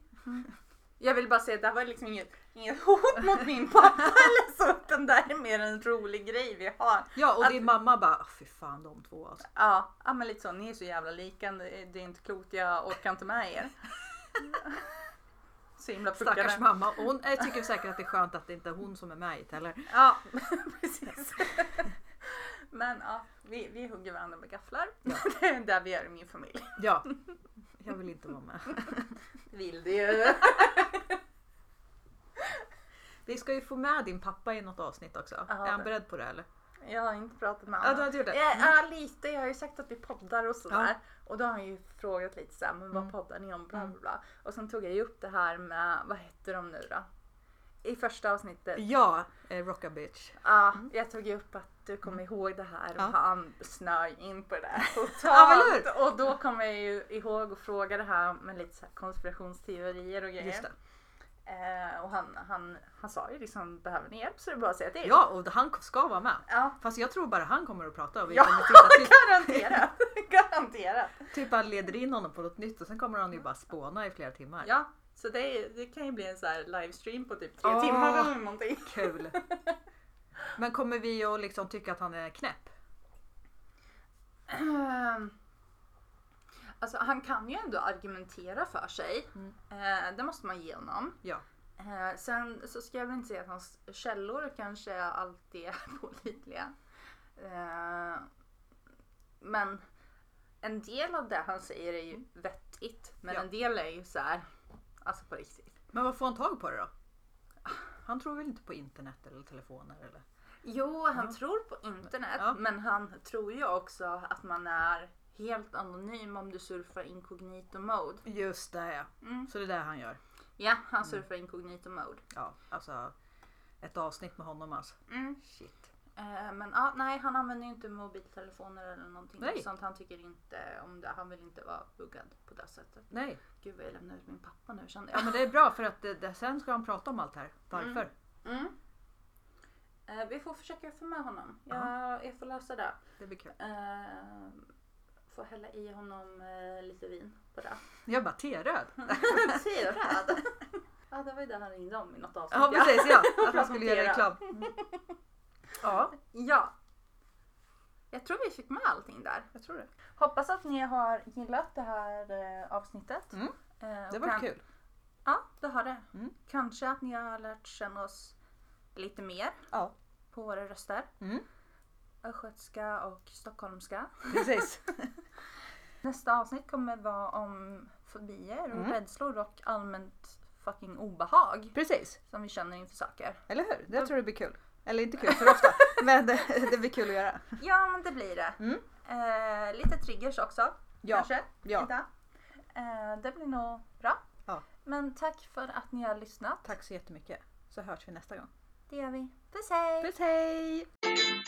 [SPEAKER 1] Jag vill bara säga att det här var liksom inget, inget [laughs] hot mot min pappa [laughs] eller så. Utan det här är mer en rolig grej vi har.
[SPEAKER 2] Ja, och din mamma bara, "Ah, fy fan de två alltså.
[SPEAKER 1] Ja, ja men lite så. Ni är så jävla lika. Det är det är inte klokt. Jag orkar inte med er. Så himla
[SPEAKER 2] Stackars
[SPEAKER 1] puckade.
[SPEAKER 2] mamma. Och Hon jag tycker säkert att det är skönt att det inte är hon som är med i det heller.
[SPEAKER 1] Ja, [laughs] precis. Men ja, vi, vi hugger varandra med gafflar. [laughs] Det är det vi gör i min familj.
[SPEAKER 2] Ja. Jag vill inte vara med.
[SPEAKER 1] Vill det ju.
[SPEAKER 2] Vi ska ju få med din pappa i något avsnitt också.
[SPEAKER 1] Ja,
[SPEAKER 2] är han
[SPEAKER 1] det.
[SPEAKER 2] beredd på det eller?
[SPEAKER 1] Jag har inte pratat med
[SPEAKER 2] Ja, du har
[SPEAKER 1] honom.
[SPEAKER 2] inte gjort det? Mm.
[SPEAKER 1] Ja, ja, lite. Jag har ju sagt att vi poddar och sådär. Och då har han ju frågat lite såhär, men vad
[SPEAKER 2] Mm.
[SPEAKER 1] poddar ni om? Bla,
[SPEAKER 2] Mm.
[SPEAKER 1] bla, bla. Och sen tog jag ju upp det här med, vad heter de nu då? I första avsnittet.
[SPEAKER 2] Ja, eh, Rocka Bitch.
[SPEAKER 1] Ja, jag tog ju upp att du kommer ihåg det här och
[SPEAKER 2] Mm. Ja.
[SPEAKER 1] han snöar ju in på det där
[SPEAKER 2] [laughs] Ja, men hur?
[SPEAKER 1] totalt. och då kommer jag ju ihåg att fråga det här med lite så här konspirationsteorier och grejer.
[SPEAKER 2] Just det.
[SPEAKER 1] Eh, och han, han, han sa ju liksom, behöver ni hjälp så är det bara att säga till.
[SPEAKER 2] Ja, och han ska vara med.
[SPEAKER 1] ja.
[SPEAKER 2] Fast jag tror bara han kommer att prata och vi
[SPEAKER 1] Ja,
[SPEAKER 2] kommer titta till,
[SPEAKER 1] Garanterat! [laughs] Garanterat!
[SPEAKER 2] typ han leder in honom på något nytt och sen kommer han ju bara spåna i flera timmar.
[SPEAKER 1] Ja, så det, är, det kan ju bli en så här livestream på typ tre
[SPEAKER 2] Ah.
[SPEAKER 1] timmar
[SPEAKER 2] [laughs]
[SPEAKER 1] eller någonting.
[SPEAKER 2] Kul! Men kommer vi att liksom tycka att han är knäpp?
[SPEAKER 1] Ehm, Alltså han kan ju ändå argumentera för sig.
[SPEAKER 2] Mm.
[SPEAKER 1] Eh, det måste man ge honom.
[SPEAKER 2] Ja.
[SPEAKER 1] Eh, sen så ska jag väl inte säga att hans källor kanske alltid är [laughs] pålitliga. Eh, men en del av det han säger är ju vettigt. Men
[SPEAKER 2] Mm. Ja.
[SPEAKER 1] en del är ju så här, alltså på riktigt.
[SPEAKER 2] Men vad får han tag på det då? Han tror väl inte på internet eller telefoner eller?
[SPEAKER 1] Jo, han tror på internet.
[SPEAKER 2] Ja.
[SPEAKER 1] Men han tror ju också att man är helt anonym om du surfar incognito mode.
[SPEAKER 2] Just det ja.
[SPEAKER 1] Mm.
[SPEAKER 2] Så det är det han gör.
[SPEAKER 1] Ja, han surfar incognito mode.
[SPEAKER 2] Ja, alltså ett avsnitt med honom alltså.
[SPEAKER 1] Mm.
[SPEAKER 2] Shit.
[SPEAKER 1] Eh, men ja, nej, han använder ju inte mobiltelefoner eller någonting
[SPEAKER 2] Nej.
[SPEAKER 1] sånt. Han tycker inte om det. Han vill inte vara buggad på det sättet.
[SPEAKER 2] Nej,
[SPEAKER 1] Gud vad jag lämnar ut min pappa nu kände
[SPEAKER 2] ja,
[SPEAKER 1] jag.
[SPEAKER 2] men det är bra för att det, det, sen ska han prata om allt här. Varför?
[SPEAKER 1] Mm. Eh, vi får försöka få med honom. Jag, jag får lösa det.
[SPEAKER 2] Det blir kul.
[SPEAKER 1] Eh, får hälla i honom eh, lite vin på det.
[SPEAKER 2] Jag bara teröd.
[SPEAKER 1] Ser du det? Ja, det var ju det han ringde om i något avsnitt.
[SPEAKER 2] Ja precis [laughs] ja, att han
[SPEAKER 1] Prata
[SPEAKER 2] skulle
[SPEAKER 1] om
[SPEAKER 2] göra
[SPEAKER 1] teröd.
[SPEAKER 2] reklam. Mm. Ja,
[SPEAKER 1] ja. Jag tror vi fick med allting där.
[SPEAKER 2] jag tror det.
[SPEAKER 1] Hoppas att ni har gillat det här eh, avsnittet.
[SPEAKER 2] Mm.
[SPEAKER 1] Eh, och
[SPEAKER 2] Det var
[SPEAKER 1] kan-
[SPEAKER 2] kul.
[SPEAKER 1] Ja, det har det.
[SPEAKER 2] Mm.
[SPEAKER 1] Kanske att ni har lärt känna oss lite mer
[SPEAKER 2] Ja,
[SPEAKER 1] på våra röster.
[SPEAKER 2] Mm.
[SPEAKER 1] Östgötska och stockholmska.
[SPEAKER 2] [laughs] precis.
[SPEAKER 1] Nästa avsnitt kommer vara om fobier och
[SPEAKER 2] Mm.
[SPEAKER 1] rädslor och allmänt fucking obehag
[SPEAKER 2] Precis,
[SPEAKER 1] som vi känner inför saker.
[SPEAKER 2] eller hur? Det tror jag blir kul. Eller inte kul för ofta, men det, det blir kul att göra.
[SPEAKER 1] Ja, men det blir det.
[SPEAKER 2] Mm.
[SPEAKER 1] Eh, lite triggers också.
[SPEAKER 2] Ja,
[SPEAKER 1] Kanske?
[SPEAKER 2] ja.
[SPEAKER 1] Inte? Eh, det blir nog bra.
[SPEAKER 2] Ja.
[SPEAKER 1] Men tack för att ni har lyssnat.
[SPEAKER 2] Tack så jättemycket. Så hörs vi nästa gång.
[SPEAKER 1] Det gör vi. Puss hej!
[SPEAKER 2] Puss hej!